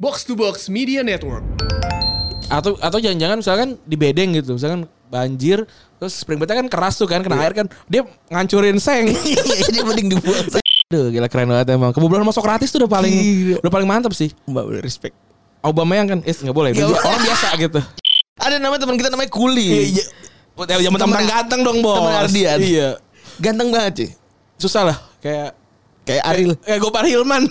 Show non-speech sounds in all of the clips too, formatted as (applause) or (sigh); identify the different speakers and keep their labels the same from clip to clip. Speaker 1: Box to Box Media Network.
Speaker 2: atau atau jangan-jangan misalkan di bedeng gitu misalkan banjir terus spring bednya kan keras tuh kan kena air kan dia ngancurin seng (laughs)
Speaker 3: Ini mending dibuang.
Speaker 2: Aduh gila keren banget emang kebobolan masuk gratis tuh udah paling
Speaker 3: Gila.
Speaker 2: udah paling mantap sih
Speaker 3: Mbak boleh respect.
Speaker 2: Obama yang kan eh nggak boleh
Speaker 3: Nggak
Speaker 2: dia
Speaker 3: boleh.
Speaker 2: orang biasa gitu
Speaker 3: Ada nama teman kita namanya Kuli.
Speaker 2: iya ya mentang-mentang
Speaker 3: Temen-
Speaker 2: ganteng dong bos
Speaker 3: temen Ardian.
Speaker 2: iya
Speaker 3: Ganteng banget sih.
Speaker 2: susah lah kayak
Speaker 3: Kayak Aril.
Speaker 2: kayak Gopar Hilman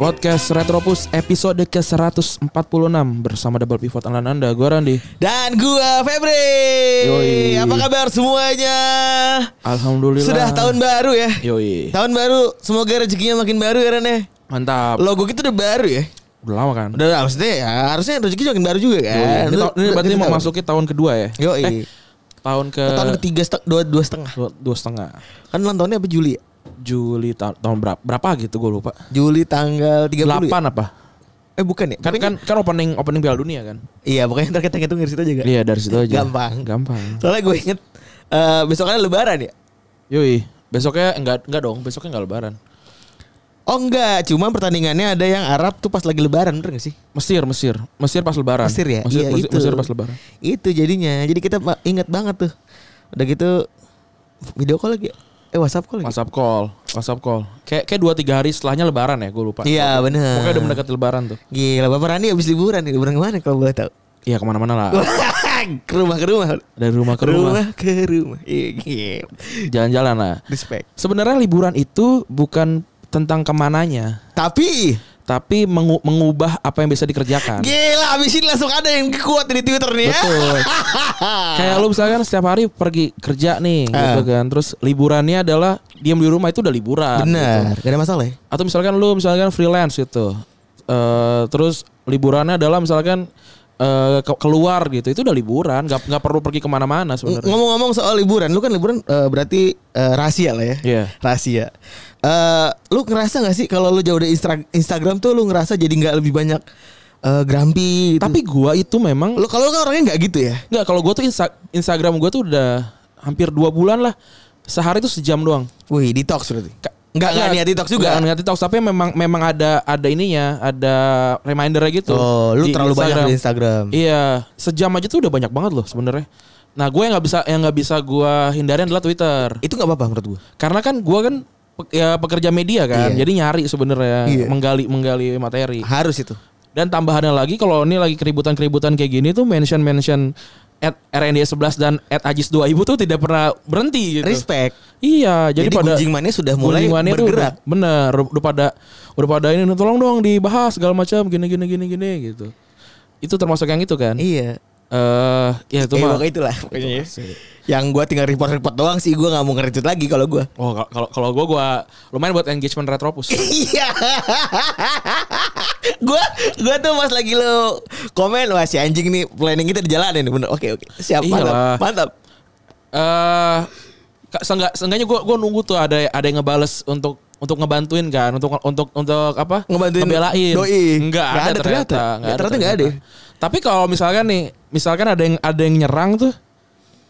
Speaker 2: Podcast Retropus episode ke-146 bersama Double Pivot Alan Anda, gue Randi.
Speaker 3: Dan gua Febri.
Speaker 2: Yoi.
Speaker 3: Apa kabar semuanya?
Speaker 2: Alhamdulillah.
Speaker 3: Sudah tahun baru ya.
Speaker 2: Yoi.
Speaker 3: Tahun baru, semoga rezekinya makin baru ya Ren ya.
Speaker 2: Mantap.
Speaker 3: Logo kita udah baru ya.
Speaker 2: Udah lama kan?
Speaker 3: Udah lah, maksudnya ya, harusnya rezeki makin baru juga
Speaker 2: Yoi.
Speaker 3: kan.
Speaker 2: Ini,
Speaker 3: Lu-
Speaker 2: ta- Eh, ini
Speaker 3: lu-
Speaker 2: berarti
Speaker 3: kita
Speaker 2: mau
Speaker 3: tahu. Iya.
Speaker 2: masukin tahun kedua ya?
Speaker 3: Yoi.
Speaker 2: Eh, tahun ke
Speaker 3: Ke tahun ketiga seteng- dua, dua setengah.
Speaker 2: dua, dua setengah.
Speaker 3: Kan ulang tahunnya apa Juli? ya?
Speaker 2: Juli ta- tahun berapa? Berapa gitu gue lupa.
Speaker 3: Juli tanggal 30 ya?
Speaker 2: 8 apa?
Speaker 3: Eh bukan ya?
Speaker 2: Kan,
Speaker 3: Pokoknya-
Speaker 2: kan kan opening opening Piala Dunia kan?
Speaker 3: Iya pokoknya ntar kita ngitung dari situ aja gak?
Speaker 2: Iya dari situ aja.
Speaker 3: Gampang.
Speaker 2: Gampang.
Speaker 3: Soalnya gue inget eh besoknya lebaran ya?
Speaker 2: Yoi. Besoknya enggak enggak dong, besoknya enggak lebaran.
Speaker 3: Oh enggak, cuma pertandingannya ada yang Arab tuh pas lagi lebaran bener gak sih?
Speaker 2: Mesir, Mesir. Mesir pas lebaran.
Speaker 3: Mesir ya?
Speaker 2: Kan. Mesir,
Speaker 3: Iya,
Speaker 2: Mesir,
Speaker 3: itu.
Speaker 2: Mesir pas lebaran.
Speaker 3: Itu jadinya, jadi kita ma- inget banget tuh Udah gitu video call lagi ya? Eh whatsapp call lagi?
Speaker 2: WhatsApp call, WhatsApp call. Kayak kayak dua tiga hari setelahnya Lebaran ya, gue lupa.
Speaker 3: Iya bener
Speaker 2: Pokoknya udah mendekati Lebaran tuh.
Speaker 3: Gila, Bapak Rani habis liburan nih, liburan kemana kalau boleh tahu?
Speaker 2: Iya kemana-mana lah.
Speaker 3: (laughs) ke rumah ke rumah
Speaker 2: Dari rumah Ah. ke rumah,
Speaker 3: ke rumah Iya, gila.
Speaker 2: jalan-jalan lah.
Speaker 3: respect
Speaker 2: Sebenarnya liburan itu bukan tentang kemananya,
Speaker 3: tapi
Speaker 2: tapi mengu- mengubah apa yang bisa dikerjakan.
Speaker 3: gila abis ini langsung ada yang kuat di twitter nih ya
Speaker 2: Kan.
Speaker 3: (laughs)
Speaker 2: Betul. Kayak lu misalkan setiap hari pergi kerja nih, gitu
Speaker 3: Eh.
Speaker 2: kan. Terus liburannya adalah diam di rumah itu udah liburan. gitu.
Speaker 3: bener gak ada masalah ya
Speaker 2: Atau misalkan lu misalkan freelance gitu. Eh, terus liburannya adalah misalkan eh, ke- keluar gitu. Itu udah liburan, nggak nggak perlu pergi kemana-mana
Speaker 3: Ng-
Speaker 2: sebenarnya.
Speaker 3: ngomong-ngomong soal liburan lu kan liburan eh, berarti eh, rahasia lah ya
Speaker 2: Iya.
Speaker 3: rahasia Eh, lu ngerasa gak sih kalau lu jauh dari Instra- Instagram tuh lu ngerasa jadi nggak lebih banyak eh, grumpy gitu?
Speaker 2: Tapi gua itu memang
Speaker 3: lu kalau lu kan orangnya nggak gitu ya
Speaker 2: Enggak, kalau gue tuh Insta- Instagram gue tuh udah hampir dua bulan lah. Sehari tuh sejam doang.
Speaker 3: wih detox berarti nggak nggak niat detox juga
Speaker 2: Enggak niat detox, tapi memang memang ada ada ininya, ada remindernya gitu.
Speaker 3: oh
Speaker 2: di
Speaker 3: lu terlalu banyak di Instagram
Speaker 2: Iya, sejam aja tuh udah banyak banget loh sebenarnya. Nah, gue yang nggak bisa yang nggak bisa gue hindari adalah Twitter.
Speaker 3: itu nggak apa-apa menurut gua
Speaker 2: Karena kan gue kan pe- ya pekerja media kan,
Speaker 3: Iya.
Speaker 2: jadi nyari sebenarnya
Speaker 3: Iya.
Speaker 2: menggali menggali materi.
Speaker 3: harus itu
Speaker 2: Dan tambahannya lagi kalau ini lagi keributan-keributan kayak gini tuh mention-mention at RND 11 dan at Ajis 2000 tuh tidak pernah berhenti gitu.
Speaker 3: respect
Speaker 2: Iya, jadi,
Speaker 3: Jadi
Speaker 2: pada
Speaker 3: Gunjing Mania sudah mulai
Speaker 2: gunjingannya tuh
Speaker 3: bergerak.
Speaker 2: udah- bener, udah pada udah pada ini tolong dong dibahas segala macam gini gini gini gini gitu. Itu termasuk yang itu kan? Eh
Speaker 3: Iya.
Speaker 2: ya itu
Speaker 3: Eh,
Speaker 2: mah.
Speaker 3: pokoknya itulah pokoknya ya. Yang gua tinggal report-report doang sih, gua nggak mau ngerecut lagi kalau gua.
Speaker 2: Oh, kalau- kalau kalau gua gua lumayan buat engagement retropus.
Speaker 3: Iya. gua gua tuh mas lagi lo komen wah si anjing nih planning kita dijalanin bener. Oke oke. Siap mantap.
Speaker 2: Iyalah.
Speaker 3: Mantap.
Speaker 2: eh ka- seenggak, seenggaknya gue gua nunggu tuh ada ada yang ngebales untuk untuk ngebantuin kan untuk untuk untuk apa
Speaker 3: Ngebantuin
Speaker 2: ngebelain
Speaker 3: doi.
Speaker 2: enggak
Speaker 3: Nggak
Speaker 2: ada,
Speaker 3: ada
Speaker 2: ternyata
Speaker 3: ternyata. Ya, ternyata nggak ada.
Speaker 2: tapi kalau misalkan nih misalkan ada yang ada yang nyerang tuh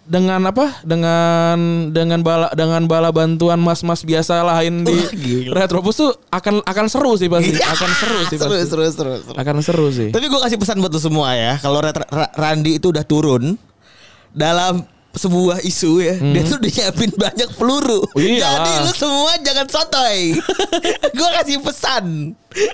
Speaker 2: dengan apa dengan dengan bala dengan bala bantuan mas-mas biasa lain di
Speaker 3: Wah, gila. Iya.
Speaker 2: Retropus tuh akan akan seru sih pasti akan seru sih
Speaker 3: (laughs) seru,
Speaker 2: pasti
Speaker 3: seru, seru, seru.
Speaker 2: akan seru sih
Speaker 3: Tapi gua kasih pesan buat lo semua ya, kalau Ra- Ra- Randi itu udah turun dalam sebuah isu ya, dia tuh udah nyiapin banyak peluru.
Speaker 2: Hmm. Iya.
Speaker 3: Jadi lu semua jangan sotoy. (laughs) gua kasih pesan.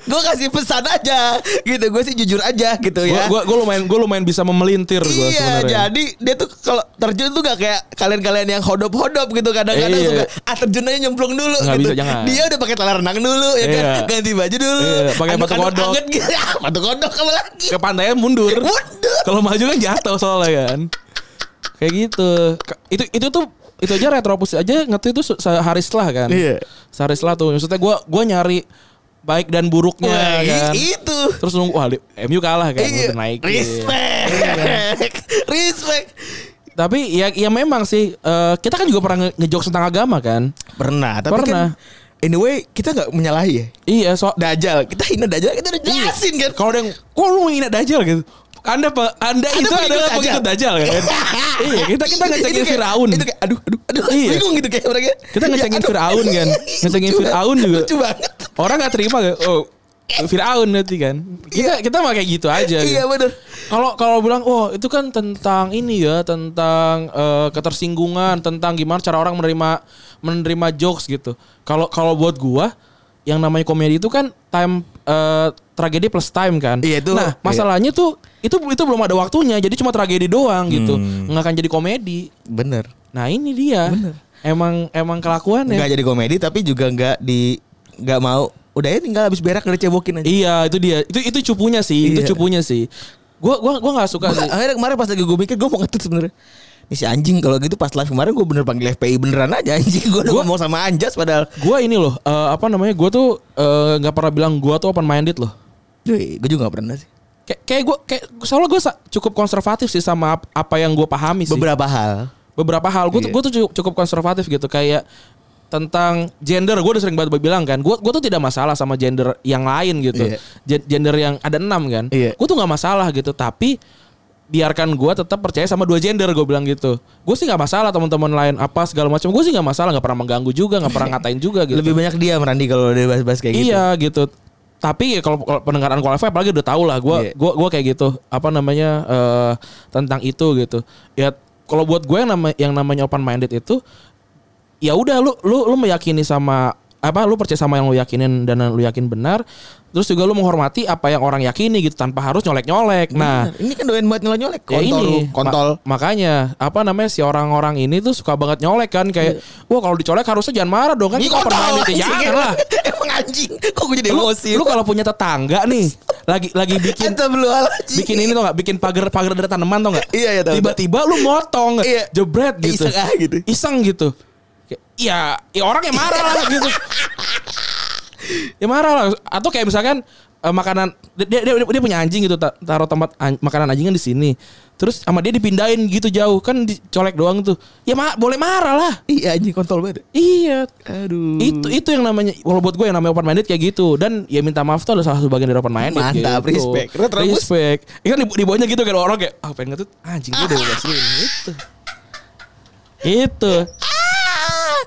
Speaker 3: Gua kasih pesan aja gitu. Gue sih jujur aja gitu
Speaker 2: gue
Speaker 3: ya.
Speaker 2: gua, gua lumayan gue lumayan bisa memelintir gue
Speaker 3: Iya,
Speaker 2: sebenarnya
Speaker 3: jadi dia tuh kalau terjun tuh gak kayak kalian-kalian yang hodop-hodop gitu kadang-kadang
Speaker 2: Iya.
Speaker 3: suka ah terjun aja nyemplung dulu
Speaker 2: Nggak
Speaker 3: gitu.
Speaker 2: bisa, jangan.
Speaker 3: Dia udah pakai celana renang dulu ya
Speaker 2: Iya.
Speaker 3: kan, ganti baju dulu.
Speaker 2: Iya, pakai batu
Speaker 3: Aduk-aduk
Speaker 2: kodok.
Speaker 3: anget (laughs) gitu. Ah, batu kodok apa lagi?
Speaker 2: ke pantainya mundur.
Speaker 3: (laughs) Mundur.
Speaker 2: Kalau maju kan jatuh soalnya kan. Kayak gitu. Ke- Itu itu tuh itu aja retropus aja ngetweet itu se- sehari setelah kan.
Speaker 3: Iya.
Speaker 2: Sehari setelah tuh. Maksudnya gua gua nyari baik dan buruknya
Speaker 3: Wah, i- Iya.
Speaker 2: kan.
Speaker 3: itu.
Speaker 2: Terus nunggu wah di- MU kalah kan.
Speaker 3: Iya.
Speaker 2: Udah naik.
Speaker 3: (laughs) Respect. Respect.
Speaker 2: Tapi ya ya memang sih eh, kita kan juga pernah nge- ngejokes tentang agama kan.
Speaker 3: Pernah, tapi
Speaker 2: Pernah.
Speaker 3: kan anyway kita nggak menyalahi ya.
Speaker 2: Iya, so
Speaker 3: Dajal, kita hina Dajal, kita udah jelasin kan.
Speaker 2: Iya. kalau ada yang kok lu ngina dajal gitu. Anda pe, Anda, itu
Speaker 3: pengikut
Speaker 2: adalah
Speaker 3: Dajjal.
Speaker 2: pengikut dajal kan. iya, kita kita
Speaker 3: Itu-
Speaker 2: ngecengin
Speaker 3: itu kayak-
Speaker 2: Firaun.
Speaker 3: Itu kayak aduh aduh aduh
Speaker 2: Iya.
Speaker 3: bingung gitu kayak mereka.
Speaker 2: Kita ngecengin
Speaker 3: Ya, aduh.
Speaker 2: Firaun kan. Ngecengin
Speaker 3: (laughs) Lucu-
Speaker 2: Firaun juga.
Speaker 3: Lucu banget.
Speaker 2: Orang nggak terima gak? Oh, Firaun nanti kan. Kita kita mah kayak gitu aja.
Speaker 3: Iya
Speaker 2: gitu.
Speaker 3: benar.
Speaker 2: Kalau kalau bilang, oh itu kan tentang ini ya, tentang eh, ketersinggungan, tentang gimana cara orang menerima menerima jokes gitu. Kalau kalau buat gua, yang namanya komedi itu kan time eh, tragedi plus time kan.
Speaker 3: Iya, itu-
Speaker 2: Nah masalahnya tuh itu itu belum ada waktunya, jadi cuma tragedi doang gitu,
Speaker 3: Hmm.
Speaker 2: nggak akan jadi komedi.
Speaker 3: Bener.
Speaker 2: Nah ini dia, emang emang kelakuannya.
Speaker 3: Nggak jadi komedi tapi juga nggak di nggak mau. Udah ya tinggal habis berak udah cebokin aja.
Speaker 2: Iya itu dia, itu itu cupunya sih, itu
Speaker 3: Iya.
Speaker 2: cupunya sih. Gua gua gua nggak suka
Speaker 3: Gua-
Speaker 2: sih.
Speaker 3: akhirnya kemarin pas lagi gue mikir gue mau ngetut sebenarnya. Ini si anjing kalau gitu pas live kemarin gue bener panggil FPI beneran aja anjing gue udah
Speaker 2: Gua-
Speaker 3: ngomong sama Anjas padahal.
Speaker 2: Gua ini loh, eh, apa namanya? Gua tuh eh, nggak pernah bilang gua tuh open minded loh.
Speaker 3: Gue juga gak pernah sih.
Speaker 2: Kayak kayak gue kayak soalnya gue cukup konservatif sih sama ap- apa yang gue pahami sih.
Speaker 3: Beberapa hal.
Speaker 2: Beberapa hal gue tuh
Speaker 3: Iya.
Speaker 2: gue tuh cukup, cukup konservatif gitu kayak tentang gender gue udah sering banget bilang kan gue gue tuh tidak masalah sama gender yang lain gitu
Speaker 3: Iya.
Speaker 2: Gen- gender yang ada enam kan
Speaker 3: Iya.
Speaker 2: gue tuh nggak masalah gitu tapi biarkan gue tetap percaya sama dua gender gue bilang gitu gue sih nggak masalah teman-teman lain apa segala macam gue sih nggak masalah nggak pernah mengganggu juga nggak pernah ngatain juga gitu
Speaker 3: Lebih banyak dia Randi kalau udah bahas-bahas kayak gitu.
Speaker 2: iya gitu. Tapi ya kalau kalau pendengaran kualifikasi apalagi udah tau lah gua
Speaker 3: Iya.
Speaker 2: gua gua kayak gitu apa namanya eh, tentang itu gitu. Ya kalau buat gue yang nama yang namanya open minded itu ya udah lu lu lu meyakini sama apa lu percaya sama yang lu yakinin dan lu yakin benar terus juga lu menghormati apa yang orang yakini gitu tanpa harus nyolek-nyolek. Nah,
Speaker 3: Nah, ini kan doain buat nyolek-nyolek.
Speaker 2: Ya
Speaker 3: Kontol,
Speaker 2: ini,
Speaker 3: lu, kontol.
Speaker 2: ma- makanya apa namanya si orang-orang ini tuh suka banget nyolek kan kayak
Speaker 3: Iya.
Speaker 2: wah kalau dicolek harusnya jangan marah dong kan
Speaker 3: Ini
Speaker 2: kita open minded ya
Speaker 3: (laughs)
Speaker 2: jangan lah.
Speaker 3: Emang anjing. Kok gue jadi
Speaker 2: lu,
Speaker 3: emosi?
Speaker 2: lu kalau punya tetangga nih lagi lagi bikin
Speaker 3: Ente belum anjing.
Speaker 2: bikin ini tuh nggak bikin pagar pagar dari tanaman tuh nggak
Speaker 3: Iya, iya, tahu,
Speaker 2: tiba-tiba lu motong
Speaker 3: Iya.
Speaker 2: jebret gitu
Speaker 3: Iseng ah gitu.
Speaker 2: iseng gitu Kayak, ya ya orang yang marah lah gitu ya marah lah atau kayak misalkan eh, makanan dia, dia dia punya anjing gitu ta- taruh tempat an- makanan anjingnya di sini terus sama dia dipindahin gitu jauh kan dicolek doang tuh ya ma- boleh marah lah
Speaker 3: Iya anjing kontol banget.
Speaker 2: iya
Speaker 3: Aduh.
Speaker 2: itu itu yang namanya kalau buat gue yang namanya open minded kayak gitu dan ya minta maaf tuh adalah salah satu bagian dari open minded
Speaker 3: Mantap,
Speaker 2: gitu.
Speaker 3: respect. Terus, terus?
Speaker 2: respect itu kan di, di bawahnya gitu kan orang kayak ah pengen ngetut anjing gue udah Gitu. ngasihin itu itu
Speaker 3: Ah!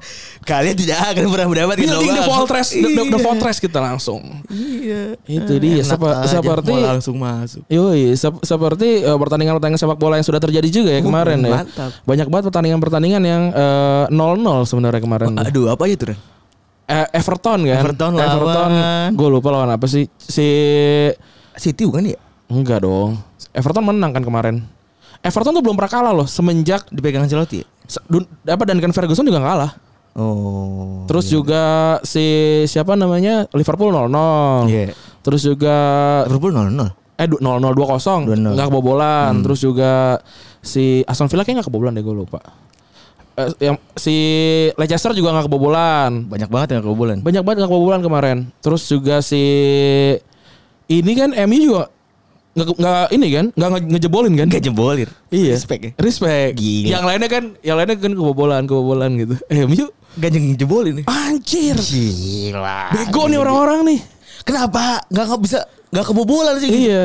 Speaker 3: Kalian tidak akan pernah mendapat
Speaker 2: building the
Speaker 3: gelombang.
Speaker 2: fortress the, the, the fortress kita langsung
Speaker 3: Iya.
Speaker 2: Itu dia,
Speaker 3: Enak
Speaker 2: sepa-
Speaker 3: aja,
Speaker 2: seperti-
Speaker 3: mau langsung masuk.
Speaker 2: Yoi, sep- seperti eh, pertandingan-pertandingan sepak bola yang sudah terjadi juga ya kemarin ya.
Speaker 3: Uh, mantap.
Speaker 2: Banyak banget pertandingan-pertandingan yang eh, 0-0 sebenarnya kemarin.
Speaker 3: Aduh, apa aja tuh? Ren?
Speaker 2: Eh, Everton kan.
Speaker 3: Everton lawan-
Speaker 2: gue lupa lawan apa sih. Si
Speaker 3: City bukan ya?
Speaker 2: Enggak dong. Everton menang kan kemarin. Everton tuh belum pernah kalah loh semenjak
Speaker 3: Dipegang Ancelotti. ya?
Speaker 2: se- dun, apa Duncan Ferguson juga nggak kalah.
Speaker 3: Oh.
Speaker 2: Terus juga si siapa namanya Liverpool 0-0.
Speaker 3: Iya.
Speaker 2: Terus juga
Speaker 3: Liverpool 0-0.
Speaker 2: eh du- 0-0 2-0
Speaker 3: 2-0.
Speaker 2: nggak kebobolan. Terus juga si Aston Villa kayaknya nggak kebobolan deh gue lupa. Eh, yang si Leicester juga nggak kebobolan.
Speaker 3: Banyak banget yang kebobolan.
Speaker 2: Banyak banget nggak kebobolan kemarin. Terus juga si ini kan MU juga nggak nggak ini kan nggak nge- ngejebolin kan?
Speaker 3: Gak jebolir.
Speaker 2: Iya.
Speaker 3: Respect ya.
Speaker 2: Respect.
Speaker 3: Gila.
Speaker 2: Yang lainnya kan, yang lainnya kan kebobolan, kebobolan gitu. (laughs) Eh, MU
Speaker 3: Gak jebolin.
Speaker 2: anjir.
Speaker 3: Gila.
Speaker 2: Bego nih orang-orang nih.
Speaker 3: Kenapa nggak nggak bisa nggak kebobolan sih? (laughs)
Speaker 2: Iya.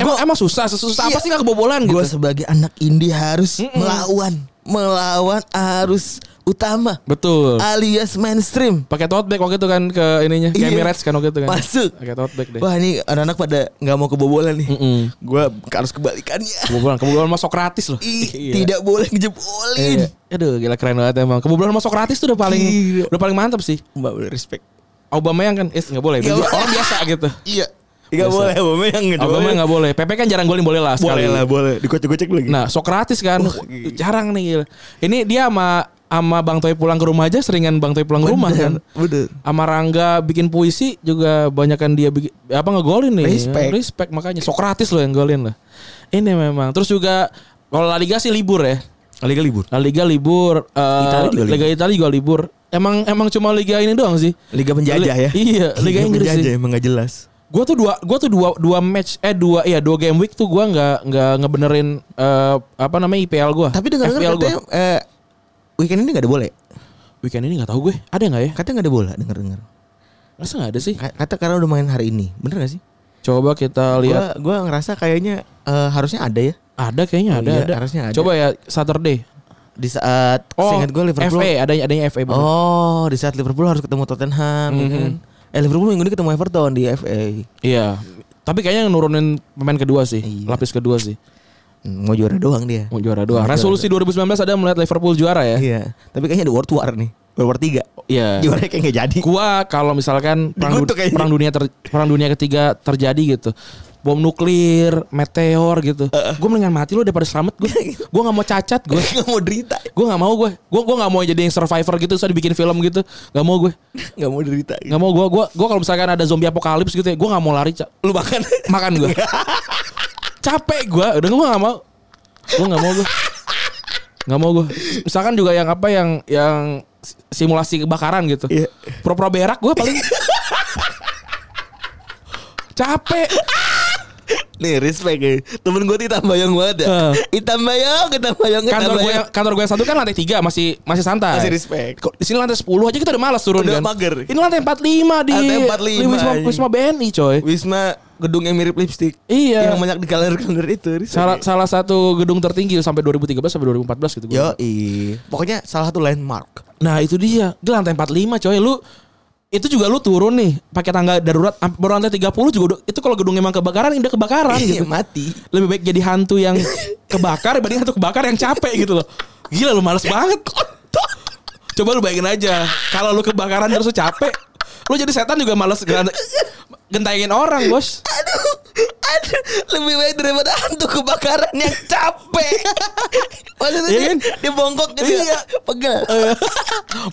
Speaker 2: Emang emang susah, susah apa
Speaker 3: Iya.
Speaker 2: sih nggak kebobolan
Speaker 3: Gue
Speaker 2: gitu.
Speaker 3: sebagai anak indie harus melawan, melawan arus utama,
Speaker 2: Betul.
Speaker 3: alias mainstream.
Speaker 2: Pakai tote bag waktu itu kan ke ininya, ke
Speaker 3: Ah. Iya.
Speaker 2: Emirates kan waktu itu kan.
Speaker 3: Masuk.
Speaker 2: Pakai tote bag deh.
Speaker 3: Wah ini anak-anak pada nggak mau kebobolan nih.
Speaker 2: Mm-mm.
Speaker 3: Gue harus kebalikannya.
Speaker 2: Kebobolan, kebobolan sama Sokratis loh.
Speaker 3: Ih,
Speaker 2: (laughs) Iya.
Speaker 3: Tidak boleh ngejebolin.
Speaker 2: Iya. Aduh, gila keren banget emang. Kebobolan sama Sokratis tuh udah paling
Speaker 3: Gila.
Speaker 2: udah paling mantap sih.
Speaker 3: Mbak boleh respect.
Speaker 2: Aubameyang kan, is nggak boleh.
Speaker 3: Nggak boleh.
Speaker 2: Orang biasa gitu.
Speaker 3: Iya. Gak
Speaker 2: Biasa.
Speaker 3: boleh Obama yang
Speaker 2: Aubameyang nggak boleh. Pepe kan jarang golin boleh lah sekali.
Speaker 3: Boleh lah boleh. Dikocok-kocok lagi.
Speaker 2: Nah, Sokratis kan
Speaker 3: Wah,
Speaker 2: jarang nih. gila. Ini dia sama sama Bang Toy pulang ke rumah aja seringan Bang Toy pulang ke rumah kan.
Speaker 3: Bener.
Speaker 2: Sama Rangga bikin puisi juga banyakan dia bikin apa ngegolin nih.
Speaker 3: Respect.
Speaker 2: Respect makanya Sokratis loh yang golin lah. Ini memang. Terus juga kalau La Liga sih libur ya.
Speaker 3: Liga libur.
Speaker 2: La Liga libur, eh,
Speaker 3: Italia juga
Speaker 2: Liga Italia juga libur. Emang emang cuma liga ini doang sih.
Speaker 3: Liga penjajah ya.
Speaker 2: Iya, Liga Inggris sih.
Speaker 3: penjajah emang gak jelas.
Speaker 2: Gue tuh dua, gue tuh dua dua match, eh dua ya dua game week tuh gue nggak nggak ngebenerin eh, apa namanya IPL gue.
Speaker 3: Tapi dengar dengar
Speaker 2: FPL gue.
Speaker 3: katanya eh, weekend ini nggak ada bola. ya?
Speaker 2: Weekend ini nggak tahu gue, ada nggak ya?
Speaker 3: Katanya nggak ada bola. Dengar dengar.
Speaker 2: Masa nggak ada sih?
Speaker 3: Kata karena udah main hari ini. Bener gak sih?
Speaker 2: Coba kita lihat.
Speaker 3: Gua gua ngerasa kayaknya eh, harusnya ada ya
Speaker 2: Ada kayaknya
Speaker 3: Oh
Speaker 2: ada,
Speaker 3: iya,
Speaker 2: ada.
Speaker 3: harusnya ada.
Speaker 2: Coba ya Saturday.
Speaker 3: di saat
Speaker 2: Oh,
Speaker 3: seingat gue Liverpool.
Speaker 2: FA adanya adanya FA. bener.
Speaker 3: Oh, di saat Liverpool harus ketemu Tottenham ya
Speaker 2: Mhm.
Speaker 3: kan? Eh Liverpool minggu ini ketemu Everton di FA.
Speaker 2: Iya. Tapi kayaknya nurunin pemain kedua sih,
Speaker 3: Iya.
Speaker 2: lapis kedua sih.
Speaker 3: Hmm, Mau juara doang dia.
Speaker 2: Mau juara dua.
Speaker 3: Mau
Speaker 2: Resolusi 2019 ada melihat Liverpool juara ya.
Speaker 3: Iya. Tapi kayaknya ada World War nih. World War 3.
Speaker 2: Iya.
Speaker 3: Juara kayak nggak jadi.
Speaker 2: Gua kalau misalkan perang, du-
Speaker 3: Dikutuk aja.
Speaker 2: perang dunia ter- perang dunia ketiga terjadi gitu. Bom nuklir, meteor gitu. Gue mendingan mati lu daripada selamat
Speaker 3: (laughs)
Speaker 2: gue.
Speaker 3: Gitu.
Speaker 2: Gue nggak mau cacat gue.
Speaker 3: Gak mau derita.
Speaker 2: Gue nggak mau gue. Gue gue nggak mau jadi yang survivor gitu. Saya dibikin film gitu. Nggak mau gue.
Speaker 3: Gak mau derita.
Speaker 2: Nggak mau gue. Gue gue kalau misalkan ada zombie apokalips gitu ya. Gue nggak mau lari. Ca-
Speaker 3: Lu makan.
Speaker 2: (laughs) makan gue. Capek gue. Udah gue nggak mau. Gue nggak mau gue. Nggak mau gue. Misalkan juga yang apa yang yang si- simulasi kebakaran gitu.
Speaker 3: Iya.
Speaker 2: Pro-pro berak gue paling. Capek.
Speaker 3: Nih respect ya. Temen gue tuh hitam bayang
Speaker 2: Heeh.
Speaker 3: banget ya. Hitam bayang, hitam bayang, hitam
Speaker 2: Kantor gue
Speaker 3: bayang.
Speaker 2: kantor gue yang satu kan lantai 3 masih masih santai.
Speaker 3: Iya, Masih respect.
Speaker 2: Kok Di sini lantai 10 aja kita udah malas turun
Speaker 3: Udah
Speaker 2: kan.
Speaker 3: mager.
Speaker 2: Ini lantai 45 di
Speaker 3: Lantai 45,
Speaker 2: di Wisma,
Speaker 3: anjing.
Speaker 2: Wisma BNI coy.
Speaker 3: Wisma gedung yang mirip lipstick.
Speaker 2: Iya.
Speaker 3: Yang banyak di kalender-kalender itu. respect.
Speaker 2: Salah salah satu gedung tertinggi sampai 2013 sampai 2014 gitu. gua.
Speaker 3: Yoi. Pokoknya salah satu landmark.
Speaker 2: Nah itu dia Di lantai 45 coy Lu Itu juga lu turun nih pakai tangga darurat am- Baru lantai 30 juga udah- Itu kalau gedung emang kebakaran Udah kebakaran
Speaker 3: Iya,
Speaker 2: gitu
Speaker 3: mati. (laughs)
Speaker 2: Lebih baik jadi hantu yang Kebakar dibanding hantu kebakar yang capek gitu loh Gila lu males banget Coba lu bayangin aja Kalau lu kebakaran terus lu capek Lu jadi setan juga males geran- Gentengin orang bos
Speaker 3: Aduh, aduh, lebih baik daripada hantu kebakaran yang
Speaker 2: (laughs)
Speaker 3: capek. Maksudnya
Speaker 2: Iya
Speaker 3: dia,
Speaker 2: kan?
Speaker 3: dia bongkok gitu
Speaker 2: Iya.
Speaker 3: ya, pegel.
Speaker 2: Eh,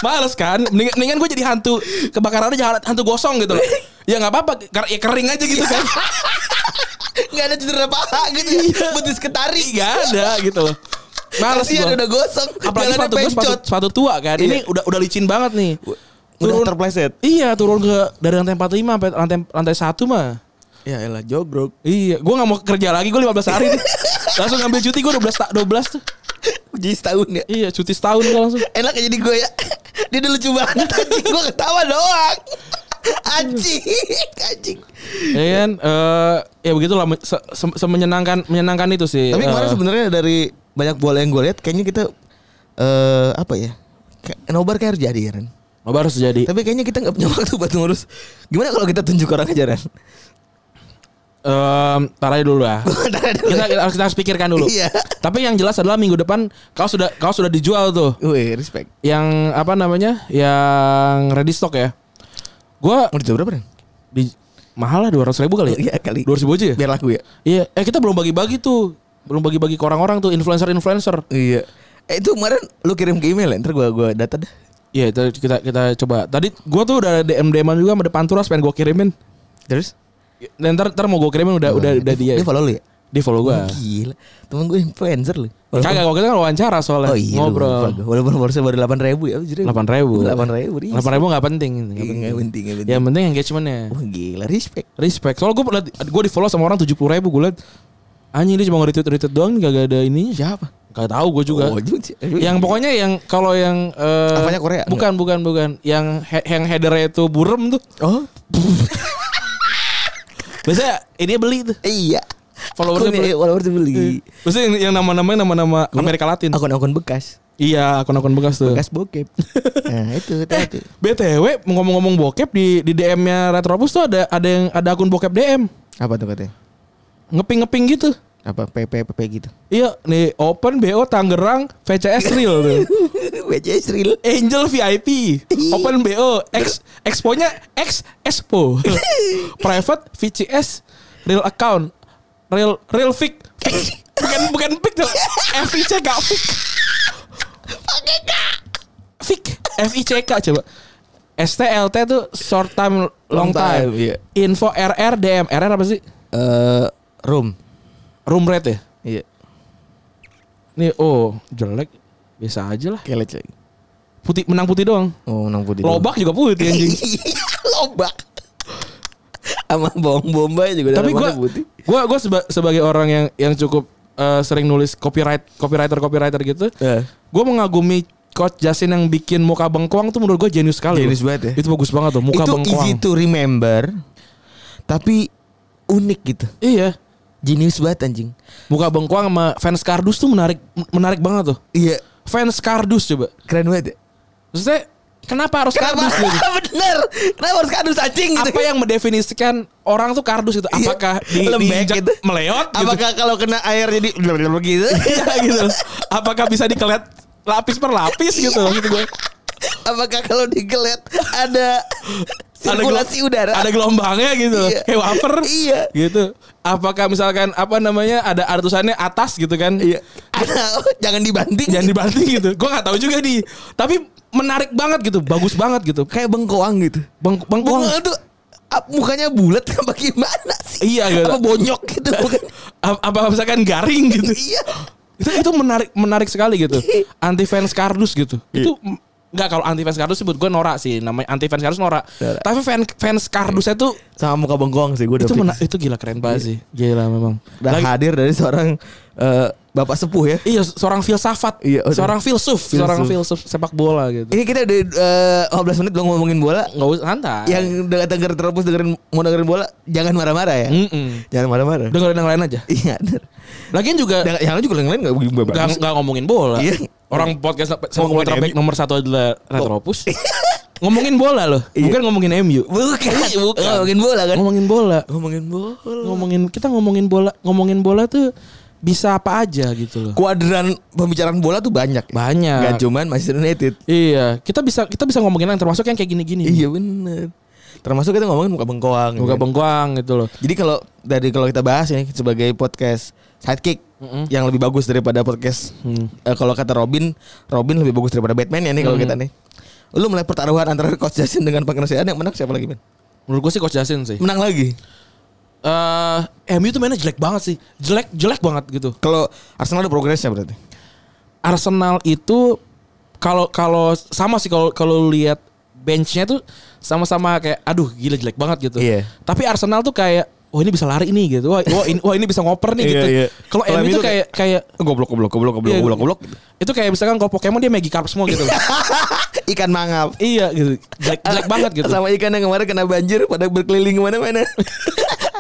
Speaker 2: Males kan Mendingan, mendingan gue jadi hantu Kebakaran aja hantu gosong gitu loh Ya gak apa-apa kar- Ya kering aja gitu kan
Speaker 3: Gak ada cedera paha gitu ya, betis ketari.
Speaker 2: Gak ada gitu loh Iya. Males
Speaker 3: Kasihan
Speaker 2: gua.
Speaker 3: udah gosong,
Speaker 2: Apalagi
Speaker 3: jalannya
Speaker 2: sepatu gue sepatu,
Speaker 3: pencot.
Speaker 2: sepatu tua kan. Ini
Speaker 3: Iya.
Speaker 2: udah udah licin banget nih.
Speaker 3: Udah
Speaker 2: Turun
Speaker 3: terpleset.
Speaker 2: Iya, turun ke dari lantai 45 sampai lantai lantai 1 mah.
Speaker 3: Ya elah jogrok.
Speaker 2: Iya, gua nggak mau kerja lagi, gua 15 (laughs) hari nih. langsung ngambil cuti gua 12 ta- 12 tuh.
Speaker 3: Jadi setahun ya.
Speaker 2: Iya, cuti setahun gua langsung.
Speaker 3: Enak ya jadi gue ya. (laughs) Dia dulu coba anjing gue ketawa doang. (laughs) Anjing, anjing.
Speaker 2: Ya kan eh ya begitulah me- se- se- semenyenangkan menyenangkan itu sih.
Speaker 3: Tapi kemarin
Speaker 2: Eh,
Speaker 3: sebenarnya dari banyak bola yang gue lihat kayaknya kita eh apa ya? Kayak- Nobar kayak harus jadi ya Ren.
Speaker 2: Nobar harus jadi
Speaker 3: Tapi kayaknya kita nggak punya (laughs) waktu buat ngurus. Gimana kalau kita tunjuk orang aja Ren?
Speaker 2: Em, tar aja dulu (laughs) ya.
Speaker 3: Ntar ada-
Speaker 2: kita, kita harus kita harus pikirkan dulu.
Speaker 3: (laughs) Iya.
Speaker 2: Tapi yang jelas adalah minggu depan kau sudah kau sudah dijual tuh.
Speaker 3: Wih, respect.
Speaker 2: yang apa namanya yang ready stock ya gua
Speaker 3: Mau dijual berapa Ren?
Speaker 2: di mahal lah dua ribu kali ya
Speaker 3: Iya kali.
Speaker 2: dua ribu aja ya
Speaker 3: Biar laku ya.
Speaker 2: iya eh kita belum bagi-bagi tuh belum bagi-bagi ke orang-orang tuh influencer influencer
Speaker 3: Iya. Eh itu kemarin lu kirim ke email ya, ntar gua gua data dah.
Speaker 2: iya itu kita kita coba tadi gua tuh udah dm dman juga sama depan turas pengen gua kirimin
Speaker 3: Terus?
Speaker 2: dan ntar ntar mau gua kirimin udah udah udah dia
Speaker 3: Dia follow lu ya?
Speaker 2: dia follow gua
Speaker 3: Gila. Temen gue influencer lu.
Speaker 2: kagak kalau kita kan wawancara soalnya
Speaker 3: Oh iya
Speaker 2: ngobrol
Speaker 3: lupa gua. Walaupun followersnya baru 8 ribu ya
Speaker 2: delapan ribu
Speaker 3: Delapan ribu
Speaker 2: delapan ribu Iya, nggak penting nggak penting.
Speaker 3: Gak penting nggak penting.
Speaker 2: yang penting engagementnya
Speaker 3: Wah gila respect
Speaker 2: Respect. Soalnya gue pernah gue di follow sama orang tujuh puluh ribu gue liat anjing dia cuma nge-retweet retweet doang gak, ada ininya siapa? Gak tahu gue juga.
Speaker 3: Oh, juga.
Speaker 2: yang pokoknya yang kalau yang eh,
Speaker 3: Apanya Korea?
Speaker 2: Bukan bukan bukan. Yang he- yang headernya itu burem tuh.
Speaker 3: Oh
Speaker 2: Biasanya ini beli tuh.
Speaker 3: iya
Speaker 2: Followersnya
Speaker 3: Akun-
Speaker 2: beli. Iya.
Speaker 3: eh, followersnya beli
Speaker 2: Biasanya yang, yang nama-namanya nama-nama Amerika Latin.
Speaker 3: Akun-akun bekas
Speaker 2: Iya, akun-akun bekas tuh. (laughs)
Speaker 3: Bekas bokep Nah itu hati-hati
Speaker 2: BTW ngomong-ngomong bokep di di DM-nya Retropus tuh ada ada yang ada akun bokep DM.
Speaker 3: Apa tuh katanya?
Speaker 2: Ngeping-ngeping gitu.
Speaker 3: Apa PPPP (laughs) gitu
Speaker 2: Iya, nih Open BO Tangerang VCS real tuh.
Speaker 3: WC Sril
Speaker 2: Angel VIP Open BO X Expo-nya X Expo Private VCS Real account Real Real fic Fic. Bukan bukan pic dong FIC gak fic Fic FICK coba STLT tuh short time long
Speaker 3: Long time,
Speaker 2: time
Speaker 3: iya.
Speaker 2: Info RR DM RR apa sih?
Speaker 3: Eh Room
Speaker 2: Room rate ya?
Speaker 3: Iya
Speaker 2: Nih oh jelek Biasa aja lah
Speaker 3: Kelet coy
Speaker 2: Putih menang putih doang
Speaker 3: (laughs) Oh menang putih
Speaker 2: Lobak juga putih anjing
Speaker 3: Lobak sama bawang bombay juga
Speaker 2: Tapi
Speaker 3: dalam
Speaker 2: gue
Speaker 3: warna putih.
Speaker 2: gue gue sebagai orang yang yang cukup eh, sering nulis copyright copywriter copywriter gitu,
Speaker 3: Eh.
Speaker 2: gue mengagumi Coach Justin yang bikin muka bengkoang tuh menurut gue jenius sekali.
Speaker 3: Jenius
Speaker 2: loh.
Speaker 3: banget ya.
Speaker 2: Itu bagus banget tuh muka
Speaker 3: itu
Speaker 2: bengkoang.
Speaker 3: easy to remember tapi unik gitu.
Speaker 2: Iya.
Speaker 3: Jenius banget anjing.
Speaker 2: Muka bengkoang sama fans kardus tuh menarik menarik banget tuh.
Speaker 3: Iya,
Speaker 2: Fans kardus coba.
Speaker 3: keren banget. Ya.
Speaker 2: Maksudnya kenapa harus
Speaker 3: Kenapa?
Speaker 2: kardus gitu?
Speaker 3: Bener. Kenapa harus kardus anjing (laughs) gitu?
Speaker 2: Apa yang mendefinisikan orang tuh kardus itu?
Speaker 3: Iya.
Speaker 2: Apakah di,
Speaker 3: Lembek
Speaker 2: diinjak
Speaker 3: gitu.
Speaker 2: meleot gitu?
Speaker 3: Apakah kalau kena air jadi (laughs) gitu?
Speaker 2: Iya, gitu. (laughs) Apakah bisa dikelet lapis per lapis gitu maksud gue.
Speaker 3: Apakah kalau digelet ada sirkulasi
Speaker 2: gelo-
Speaker 3: udara?
Speaker 2: Ada gelombangnya gitu.
Speaker 3: Iya.
Speaker 2: Kayak wafer.
Speaker 3: Iya.
Speaker 2: Gitu. Apakah misalkan apa namanya ada artusannya atas gitu kan?
Speaker 3: Iya. Ada- (laughs) jangan dibanting.
Speaker 2: Jangan dibanting gitu. Gue nggak tahu juga nih. Tapi menarik banget gitu, bagus banget gitu.
Speaker 3: Kayak bengkoang gitu.
Speaker 2: Bang bang Kuang.
Speaker 3: Bengkoang tuh ap- mukanya bulat (laughs) apa gimana sih?
Speaker 2: Iya, gitu.
Speaker 3: Apa bonyok gitu (laughs) mukanya?
Speaker 2: A- apa misalkan garing gitu.
Speaker 3: Iya.
Speaker 2: itu itu menarik menarik sekali gitu. Anti fans kardus gitu.
Speaker 3: Iya.
Speaker 2: Itu m- nggak kalau anti fans kardus sih buat gue norak sih namanya anti fans kardus norak.
Speaker 3: Norak.
Speaker 2: Tapi fan, fans kardusnya tuh
Speaker 3: Sama muka bengkoang sih gue
Speaker 2: itu mena- itu gila keren
Speaker 3: Iya
Speaker 2: banget sih. Gila memang.
Speaker 3: Dan
Speaker 2: Lagi-
Speaker 3: hadir dari seorang eh, bapak sepuh ya.
Speaker 2: Iya, seorang filsafat,
Speaker 3: Iya, udah.
Speaker 2: seorang filsuf,
Speaker 3: Filsuf.
Speaker 2: seorang filsuf sepak bola gitu.
Speaker 3: Ini kita udah eh, 15 menit belum ngomongin bola.
Speaker 2: Nggak usah santai.
Speaker 3: Yang udah denger terus dengerin mau dengerin bola, jangan marah-marah ya.
Speaker 2: Mm-mm.
Speaker 3: Jangan marah-marah.
Speaker 2: dengerin yang lain aja.
Speaker 3: Iya, bener.
Speaker 2: Lagian juga
Speaker 3: Dan yang lain juga yang lain nggak begini
Speaker 2: nggak
Speaker 3: bagus.
Speaker 2: nggak ngomongin bola.
Speaker 3: Iya.
Speaker 2: Orang podcast sepak bola
Speaker 3: Ngomongin Oh.
Speaker 2: terbaik
Speaker 3: MU.
Speaker 2: nomor satu adalah Retropus.
Speaker 3: (laughs)
Speaker 2: ngomongin bola loh,
Speaker 3: Iya.
Speaker 2: bukan ngomongin MU.
Speaker 3: Bukan, bukan. Ngomongin bola kan?
Speaker 2: Ngomongin bola.
Speaker 3: Ngomongin bola.
Speaker 2: ngomongin kita ngomongin bola ngomongin bola tuh bisa apa aja gitu loh
Speaker 3: Kuadran pembicaraan bola tuh banyak. ya.
Speaker 2: banyak
Speaker 3: Nggak cuman Manchester United.
Speaker 2: iya kita bisa kita bisa ngomongin yang termasuk yang kayak gini-gini
Speaker 3: Iya bener. Termasuk kita ngomongin muka bengkoang.
Speaker 2: Muka bengkoang gitu loh
Speaker 3: Jadi kalau dari kalau kita bahas ini sebagai podcast sidekick yang lebih bagus daripada podcast eh, kalau kata Robin, Robin lebih bagus daripada Batman ya nih kalau kita nih. Lu mulai pertaruhan antara (laughs) Coach Justin dengan pengenasiaan yang menang siapa lagi, men?
Speaker 2: menurut gue sih coach Justin sih
Speaker 3: Menang lagi.
Speaker 2: eh MU tuh mainnya jelek banget sih jelek jelek banget gitu
Speaker 3: Kalau Arsenal ada progresnya berarti.
Speaker 2: Arsenal itu kalau kalau sama sih kalau kalau lihat benchnya tuh sama-sama kayak aduh gila jelek banget gitu
Speaker 3: Iya.
Speaker 2: tapi Arsenal tuh kayak wah ini bisa lari nih gitu wah wah ini, wah ini bisa ngoper nih gitu
Speaker 3: Iya, iya.
Speaker 2: kalau
Speaker 3: Kalau
Speaker 2: MU
Speaker 3: MU
Speaker 2: tuh
Speaker 3: tuh
Speaker 2: kayak kayak
Speaker 3: Oh, Goblok goblok goblok goblok
Speaker 2: Iya,
Speaker 3: goblok goblok.
Speaker 2: Itu kayak misalkan kalau Pokemon dia Magic Carp semua gitu.
Speaker 3: (laughs) Ikan mangap.
Speaker 2: iya gitu. Jelek, jelek banget gitu.
Speaker 3: Sama ikan yang kemarin kena banjir pada berkeliling (laughs) kemana-mana.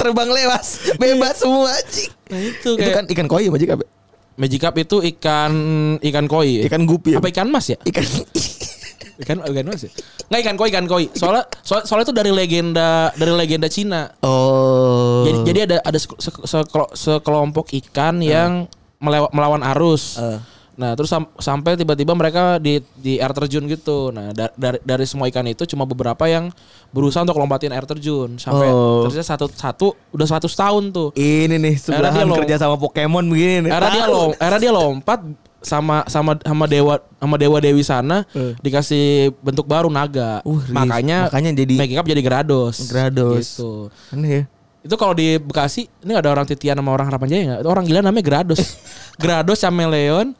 Speaker 3: Terbang lewas, bebas semua cik.
Speaker 2: Nah, itu
Speaker 3: Iya. Itu
Speaker 2: kayak
Speaker 3: kan ikan koi apa jika
Speaker 2: Magic Carp itu ikan ikan koi. ya?
Speaker 3: Ikan iya. gupi.
Speaker 2: apa ikan mas ya?
Speaker 3: Ikan (laughs)
Speaker 2: Ikan ikan mas ya? Enggak ikan koi, ikan koi. Soalnya soal, soalnya itu dari legenda dari legenda Cina.
Speaker 3: Oh.
Speaker 2: Jadi jadi ada ada sek- sek- sekelo- sekelompok ikan yang melewa- melawan arus.
Speaker 3: Eh.
Speaker 2: Nah, terus sam- sampai tiba-tiba mereka di di air terjun gitu. Nah, da- dari dari semua ikan itu cuma beberapa yang berusaha untuk lompatin air terjun sampai
Speaker 3: Oh.
Speaker 2: terusnya satu satu udah 100 tahun tuh.
Speaker 3: Ini nih
Speaker 2: dia
Speaker 3: sebelahan
Speaker 2: long-
Speaker 3: kerja sama Pokemon begini nih.
Speaker 2: Era dia
Speaker 3: Tahu.
Speaker 2: lom, era dia lompat sama sama sama dewa sama dewa dewi sana
Speaker 3: Eh.
Speaker 2: dikasih bentuk baru naga.
Speaker 3: Uh, rilis.
Speaker 2: makanya
Speaker 3: Makanya jadi-
Speaker 2: Magic Cup jadi Grados.
Speaker 3: Grados.
Speaker 2: Gitu.
Speaker 3: Aneh ya.
Speaker 2: Itu kalau di Bekasi ini ada orang titian sama orang harapan jaya nggak? Itu Orang gila namanya
Speaker 3: (laughs)
Speaker 2: Grados. Grados Chameleon,